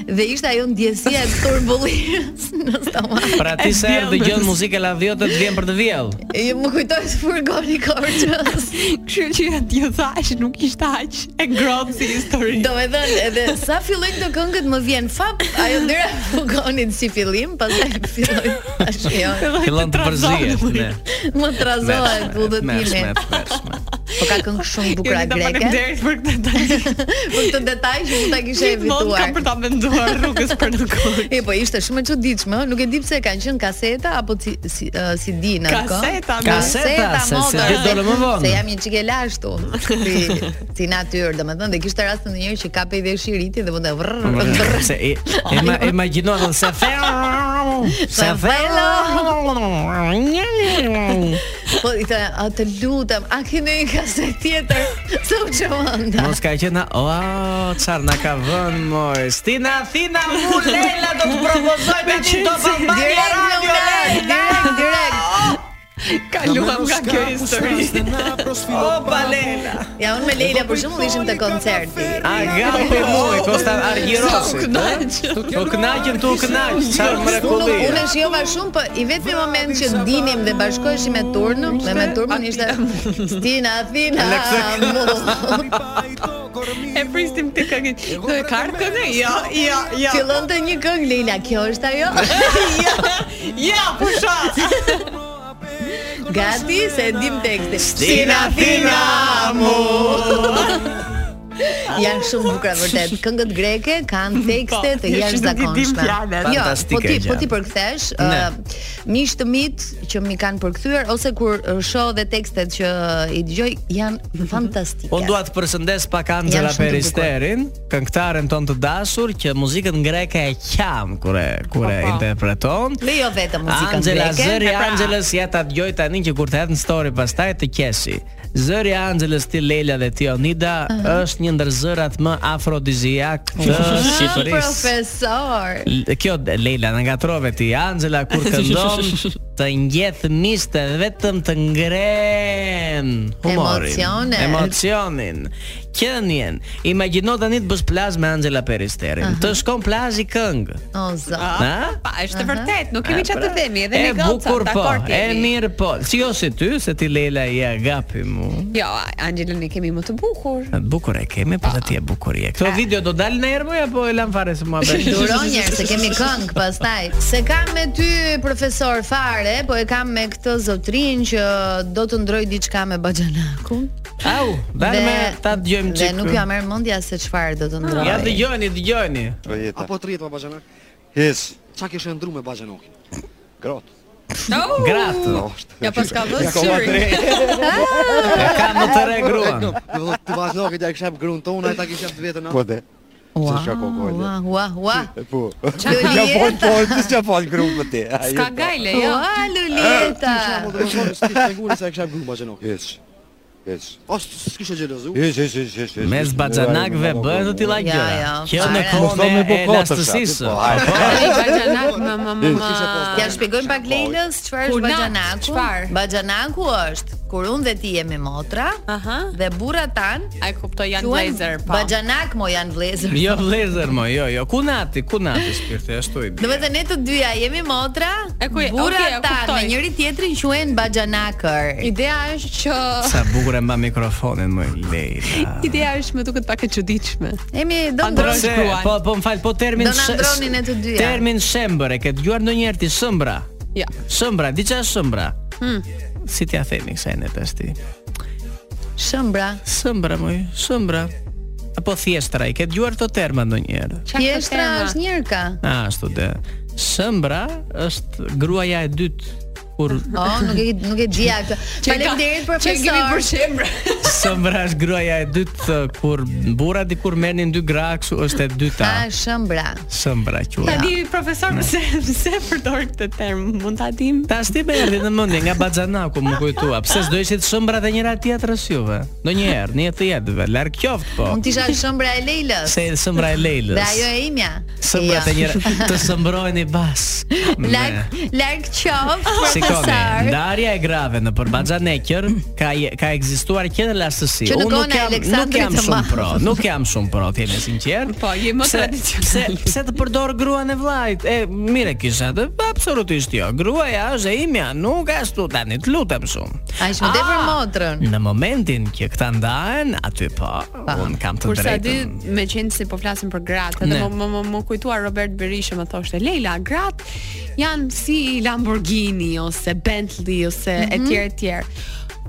G: dhe ishte ajo ndjesia e turbullirës në stomak.
I: Pra ti se herë dëgjon muzikë lavdiotë të vjen për të vjell.
G: E, Më kujtoj se furgoni Korçës.
H: Kështu që ti thash nuk ishte aq e ngrohtë si histori.
G: Do me thënë, edhe sa fillojnë këto këngët më vjen fap, ajo ndëra fugonit si fillim, pastaj filloj tash jo.
I: Fillon të përzihet. ne.
G: Më
I: Ναι,
G: trazohet budhët
I: Mersh,
G: ime.
I: mersh, mersh, mersh.
G: Po ka këngë shumë bukura
H: Jonida,
G: greke.
H: Faleminderit për këtë detaj.
G: Për këtë detaj që unë ta kisha
H: Gjithmonë kam
G: evituar.
H: për ta menduar rrugës për në kohë.
G: E po ishte shumë e çuditshme, ë, nuk e di pse kanë qenë kaseta apo si, si, ë, CD në atë kohë.
H: Kaseta,
I: Ka- Kaseta, se- se
G: motër,
I: di dole më vonë.
G: Se jam një çike lashtu, si si natyrë, domethënë, dhe kishte rast ndonjëherë që kapi dhe shiriti dhe bënte vrrr. vrrr.
I: Se e, ima, imagjino atë se fe se fe
G: Po i thë, a të lutem, a ke ndonjë kaset tjetër? Sa u çmonda.
I: Mos ka qenë o çfarë na ka vën moj. Stina Thina mu Leila do të propozoj me ti top Albania
G: Direkt në
I: Radio
G: ulaj,
I: Leila.
G: direkt, direkt.
H: Kaluam nga kjo histori.
I: Opa Leila.
G: Ja, unë me Leila për shembull ishim te koncerti.
I: A gapi muj Kosta Argjirosi. Po kënaqen tu kënaq. Çfarë
G: Unë
I: mrekulli.
G: unë e shijova shumë, po i vetmi moment që dinim dhe bashkoheshim me Turnën, dhe me Turnën ishte Stina Athina. mu.
H: E pristim të këngën. Do e ka ardhur këngë? Jo, jo, jo.
G: Fillonte një këngë Leila, kjo është ajo.
H: Ja, pusha.
G: Gati se e dim tekstin.
I: Stina Thina mu.
G: Janë shumë bukura vërtet. Këngët greke kanë tekste
H: Po,
G: të
H: jo, që nuk i dim
G: jashtëzakonshme.
H: fjallet.
G: Jo, po
I: Fantastike
G: ti
I: gjë.
G: po ti përkthesh,
I: Ne.
G: uh, miq të mit që mi kanë përkthyer ose kur uh, shoh dhe tekstet që i dëgjoj janë fantastike.
I: Unë Po dua të përshëndes pak Anxela
G: Janë shumë të
I: Peristerin, këngëtaren ton të dashur që muzikën greke e qam kur e kur e interpreton.
G: Lejo jo vetëm Po, muzikën
I: Angela
G: greke.
I: Zëri
G: E pra,
I: Angelës ja ta dëgjoj tani që kur të hedh në story pastaj të qesi. Zëri Anxhelës ti Leila dhe ti Onida është një ndër zërat më afrodiziak të Shqipërisë.
G: pra, Profesor.
I: L- Kjo d- Leila na ngatrove ti Anxela kur këndon të ngjeth miste vetëm të ngren humorin,
G: Emocionet.
I: emocionin, qenien. Imagjino tani të bësh plazh me Anxela Peristerin. Të shkon plazh i këngë.
G: O zot.
I: Ha?
H: Pa, është e
G: Aha.
H: vërtet, nuk kemi
I: E,
H: çfarë të
I: pra,
H: themi, edhe ne
I: e
H: goca,
I: bukur po,
H: dakor
I: e
H: kemi.
I: mirë po. Si jo si ty, se ti Leila i e agapi mu.
H: Jo, Angelën e kemi më të bukur.
I: Bukur e kemi, po dhe ti e bukur je.
H: Ah.
I: Këto video do dalin në erë apo e lam fare se mua bëj?
G: Duron njerë se kemi këngë pastaj. Se kam me ty profesor fare, po e kam me këtë zotrin që do të ndroj diçka me Baxhanakun.
I: Au, dal
G: Dhe-
I: me ta dëgjojmë
G: Dhe
I: çik.
G: nuk ja merr mendja se çfarë do të ndroj.
I: Ja dëgjoni, dëgjoni.
M: Apo të rritë me Bajanak? Hes. Qa kishe ndru me Bajanokin? Grot.
I: Gratë.
H: Ja pas ka vënë
M: Ja ka
H: syri.
M: vënë
I: E ka më të re gruan.
M: Do të thotë ti Bajanokit ja kishe gruan tonë, ai ta kishe të vetën.
N: Po dhe.
M: Se çka kokojë.
G: Ua, ua, ua.
N: Po.
G: Qa
N: Ja
G: Julieta?
N: fol po, ti s'ka fol grupë ti. Ai.
H: Ska gajle, jo.
G: Ua, Lulita.
M: Ti sigurt po, se e kishe gruan Bajanokit.
N: Hiç. Hiç.
M: As s'kishe xhelozu.
N: Hiç, hiç, hiç, hiç. hiç.
I: Mes baxanakve bëhen të tilla
G: Ja,
I: gjëra.
G: ja,
I: Kjo
G: fare.
I: në
N: Mos
I: kohën
N: thonë
I: e
N: me bokotësha,
I: elastësisë.
N: po, hajde.
I: Po,
H: Ai Baxhanak më më më. më.
G: Ja shpjegojmë pak Leilës çfarë është
H: Kur na-
G: Baxhanaku.
H: çfarë?
G: Baxhanaku është kur unë dhe ti jemi motra
H: Aha.
G: dhe burrat tan
H: Ai kuptoj janë
G: quhen
H: blazer po.
G: Baxhanak mo janë vlezër.
I: Jo vlezër mo, jo, jo. Kunati, kunati shpirti ashtu i
G: Do
I: bie.
G: të ne të dyja jemi motra,
H: E ku-
G: burrat
H: okay, e
G: tan
H: kuptoj.
G: me njëri tjetrin quhen Baxhanakër.
H: Ideja është që
I: Sa bukur e mba mikrofonin më Leila.
H: Ideja është më duket pak e çuditshme.
G: Jemi do
H: Pa
G: ndrosh
I: Se,
H: shkruan.
I: po po më fal, po termin
G: Do na
I: sh-
G: ndronin e të dyja.
I: Termin shembër, e ke dëgjuar ndonjëherë ti shëmbra?
H: Ja.
I: Shëmbra, diçka është shëmbra. Si t'ja themi kësaj ne tash ti?
G: shëmbra.
I: Sëmbra moj, sëmbra. Apo thjeshtra, i ke dëgjuar këto terma ndonjëherë?
G: Pjeshtra është njërka.
I: A, ashtu dhe. Sëmbra është gruaja e dytë kur
G: O, Po, nuk e nuk e dija këtë. Faleminderit
H: Që kemi për
G: profesor.
H: shemb.
I: sëmbra është gruaja e dytë uh, kur burra dikur merrnin dy gra, kështu është e dyta.
G: Ah, shëmbra.
I: Po. Sëmbra
H: Ta
I: quhet.
H: di profesor se se përdor këtë term. Mund ta dim.
I: Tash ti më erdhi në mendje nga Baxhanaku më kujtua. Pse s'do ishit sëmbra të njëra tjetrës juve? Ndonjëherë, në jetë jetëve, larg qoftë po.
G: Unë tisha shëmbra e Leilës.
I: Se sëmbra e Leilës.
G: Dhe ajo e imja.
I: sëmbra
G: Jo.
I: të njëra të sëmbroheni bas. Me-
G: Larg larg qof
I: Shikoni,
G: profesor.
I: ndarja e grave në për Baxhanekër ka je- ka ekzistuar që në lastësi.
G: Që në
I: Unë
G: kohën e
I: nuk jam nuk
G: Aleksandrit
I: jam
G: të
I: shumë
G: Madh.
I: pro, nuk jam shumë pro, të jemi sinqert.
H: Po, je më
I: Pse-
H: tradicional.
I: Pse pse të përdor gruan e vllajt? E mire kisha të absolutisht jo. Gruaja është e imja, nuk ashtu tani, të lutem shumë.
G: Ai shumë tepër
H: Ah!
G: motrën.
I: Në momentin që këta ndahen, aty po, unë kam të
H: Kurse aty
I: drejtën.
H: me qenë se po flasim për gratë, edhe
I: Ne.
H: më më më, më kujtuar Robert Berisha më thoshte, "Leila, gratë janë si Lamborghini ose Bentley ose etj etj."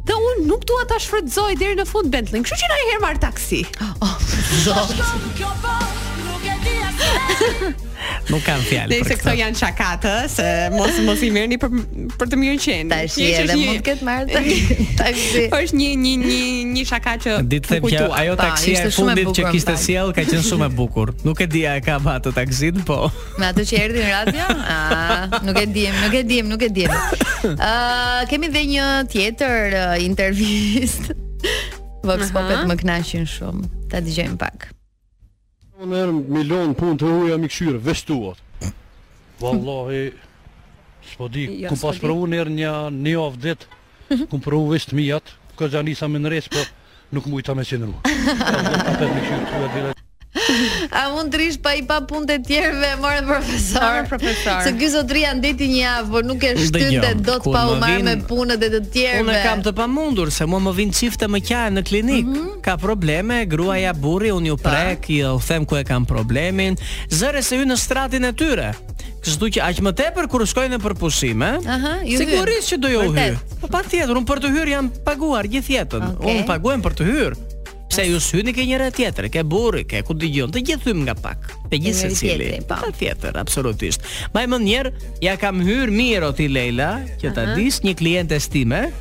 H: Dhe unë nuk dua ta shfrytëzoj deri në fund Bentley. Kështu që na herë marr taksi.
I: Ah, Nuk kam fjalë
H: Dhe se
I: për
H: këto
I: këtë.
H: janë shakatë, se mos mos i merrni për për të mirë qenë.
G: Tash
H: Thjesht
G: edhe
H: është një-
G: mund të ketë marrë taksi. taksi.
H: është një një një një shaka që
I: Ditë
H: më
I: them që
H: kujtua.
I: ajo
G: Pa,
I: taksia
G: ishte shumë
I: e
G: e
I: fundit
G: bukur,
I: që kishte
G: më fal.
I: sjell ka qenë shumë e bukur. Nuk e dia e ka atë taksin, po.
G: Me atë që erdhi në radio? Ah, nuk e dim, nuk e dim, nuk e dim. Ë, kemi dhe një tjetër uh, intervistë. Vox Popet më kënaqin shumë. Ta dëgjojmë pak.
N: Unë erë Po, Milon punë të huja mi këshyrë, vestuat.
E: Wallahi, s'po di,
H: Jo,
E: ku
H: s'po
E: pas
H: di.
E: provu në erë një një javë ditë, ku më provu vesh të mijat, ka zanisa me nres, po nuk mujta me qenru.
G: A mund të rish pa i pa punë të tjerëve, morë profesor.
H: Morë profesor.
G: Se ky zotria ndeti një javë, por nuk e
I: Dëgjom,
G: shtynte dot
I: kur
G: pa u
I: më
G: marrë
I: vin-
G: me punët e të tjerëve.
I: Unë e kam të pamundur se mua më vin çifte më qajnë në klinik.
G: Mhm.
I: Ka probleme, gruaja burri, unë ju prek, ju them ku e kam problemin. Zëre se hyn në stratin e tyre. Kështu që aq më tepër kur shkojnë për pushime,
G: Aha, ju hyn.
I: sigurisht që do ju hy.
G: Vërtet.
I: Po patjetër, unë për të hyrë jam paguar gjithë jetën.
G: Okej.
I: Unë paguhem për të hyrë. Pse ju s'hyni ke njëra tjetër, ke burri, ke ku dëgjon, të gjithë hym nga pak. Te gjithë
G: Njëri
I: secili.
G: tjetri, po.
I: Pa tjetër, absolutisht. Më më njerë, ja kam hyrë mirë o ti Leila, që ta dis një kliente stime,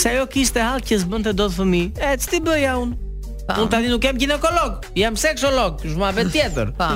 I: se ajo kishte hall që s'bënte dot fëmijë. E ç'ti bëja unë? Unë tani nuk jam ginekolog, jam seksolog, është më vetë tjetër.
G: Po.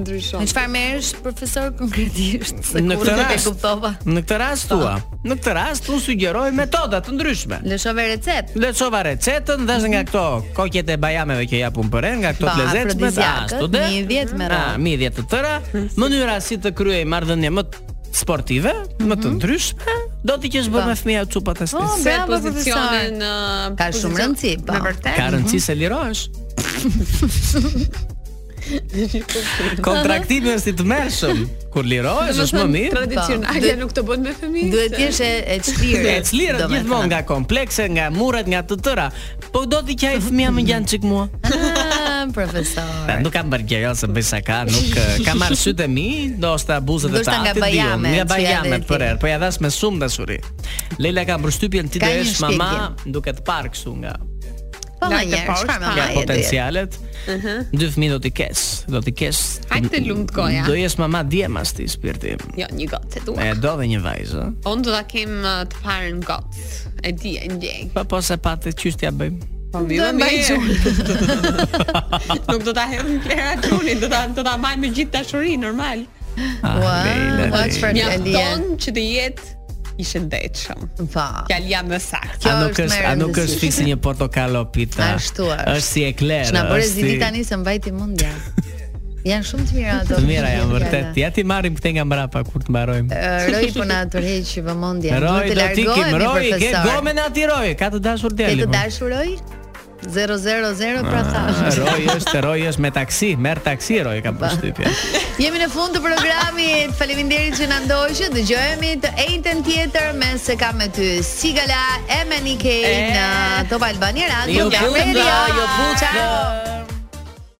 H: Ndryshon.
G: Në çfarë merresh profesor konkretisht? Se
I: Në
G: kur
I: këtë
G: nuk e
I: rast,
G: kuptova.
I: në këtë rast
G: Po.
I: thua, në këtë rast unë sugjeroj metoda të ndryshme.
G: Lëshove recept.
I: Lëshova recetën dhe nga këto kokjet e bajameve që japun për nga këto
G: Po,
I: plezecme, ta
G: afrodiziakët,
I: stude.
G: midhjet me
I: a,
G: radhë.
I: midhjet të tëra, mënyra si të kryej marrëdhënie më t- sportive, më të ndryshme, do t'i që zbër me fëmija cupat e shtëpisë.
H: Se
G: Oh, bravo, profesor.
H: pozicionin uh,
G: Ka shumë
H: pozicion-
G: rëndësi, po.
H: Me vërtet.
I: Ka rëndësi se lirohesh. Kontraktimi është i tmerrshëm. Kur lirohesh është më mirë.
H: Tradicionale nuk të bën me fëmijë.
G: Duhet të jesh e e çlirë.
I: E clirë gjithmonë nga komplekse, nga muret, nga të tëra. Po do t'i qaj fëmia më gjanë çik mua.
G: Ah, profesor.
I: Ta, nuk kam bërë gjë, jo, se bëj saka, nuk eh, kam marr sytë e mi, ndoshta abuzet e
G: Ndoshta
I: tatit.
G: nga bajame,
I: diun, Nga
G: që ja
I: bajame
G: dhe ti.
I: për erë, po ja dhash me shumë dashuri. Leila ka përshtypjen ti
G: Ka
I: do
G: një
I: jesh mama duke të parë kështu nga
G: Po më
H: Lart e
G: njerë,
H: poshtë,
G: çfarë
H: pa.
G: mama
I: nga
G: e di.
I: potencialet. Dy fëmijë do t'i kesh, do t'i kesh.
H: Hajde të lumt goja.
I: Do jesh mama djem as ti spirti.
H: Jo, një gotë e
I: E
H: dua.
I: do dhe një vajzë. ë?
H: Unë do ta kem uh, të parën gotë. E di, e ndjej.
I: Po po se patë çështja bëjmë.
H: Po mirë,
G: mbaj
H: Nuk do ta hedh në plera tonin, do ta do ta mbaj me gjithë dashurinë, normal.
I: Ah,
G: Ua,
I: Leila,
G: ua,
I: Leila.
G: çfarë
H: Mjafton
G: fjalë.
H: që të jetë i shëndetshëm.
G: Po.
H: Fjalia më saktë.
G: Kjo
I: A nuk
G: është
I: është,
G: më
I: a nuk është
G: rëndësishme.
I: fiksi një portokallo pita.
G: Ashtu është.
I: Është si ekler.
G: Shna bëre
I: është
G: zili
I: si-
G: tani se mbajti mendja. Janë shumë të mira ato.
I: Të mira janë
G: fjala.
I: vërtet. Ja ti marrim këtë nga mbrapa kur të mbarojmë.
G: Ë, Roi po na tërheq vëmendjen.
I: Roj, do ti kim roj, ke
G: gomen
I: gomen aty roj, ka të dashur
G: Te
I: djali.
G: të
I: po.
G: dashur Roj? 000 pra
I: Ah,
G: thash.
I: Roj është, roj është me taksi, merr taksi roj ka përshtypje.
G: Jemi në fund të programit. Faleminderit që na ndoqët. Dëgjohemi të njëjtën tjetër me se kam me ty Sigala e Menike në Top Albania Radio.
I: Ju
G: Nga
I: futga,
G: Media.
I: jo ju futga.
G: Ciao.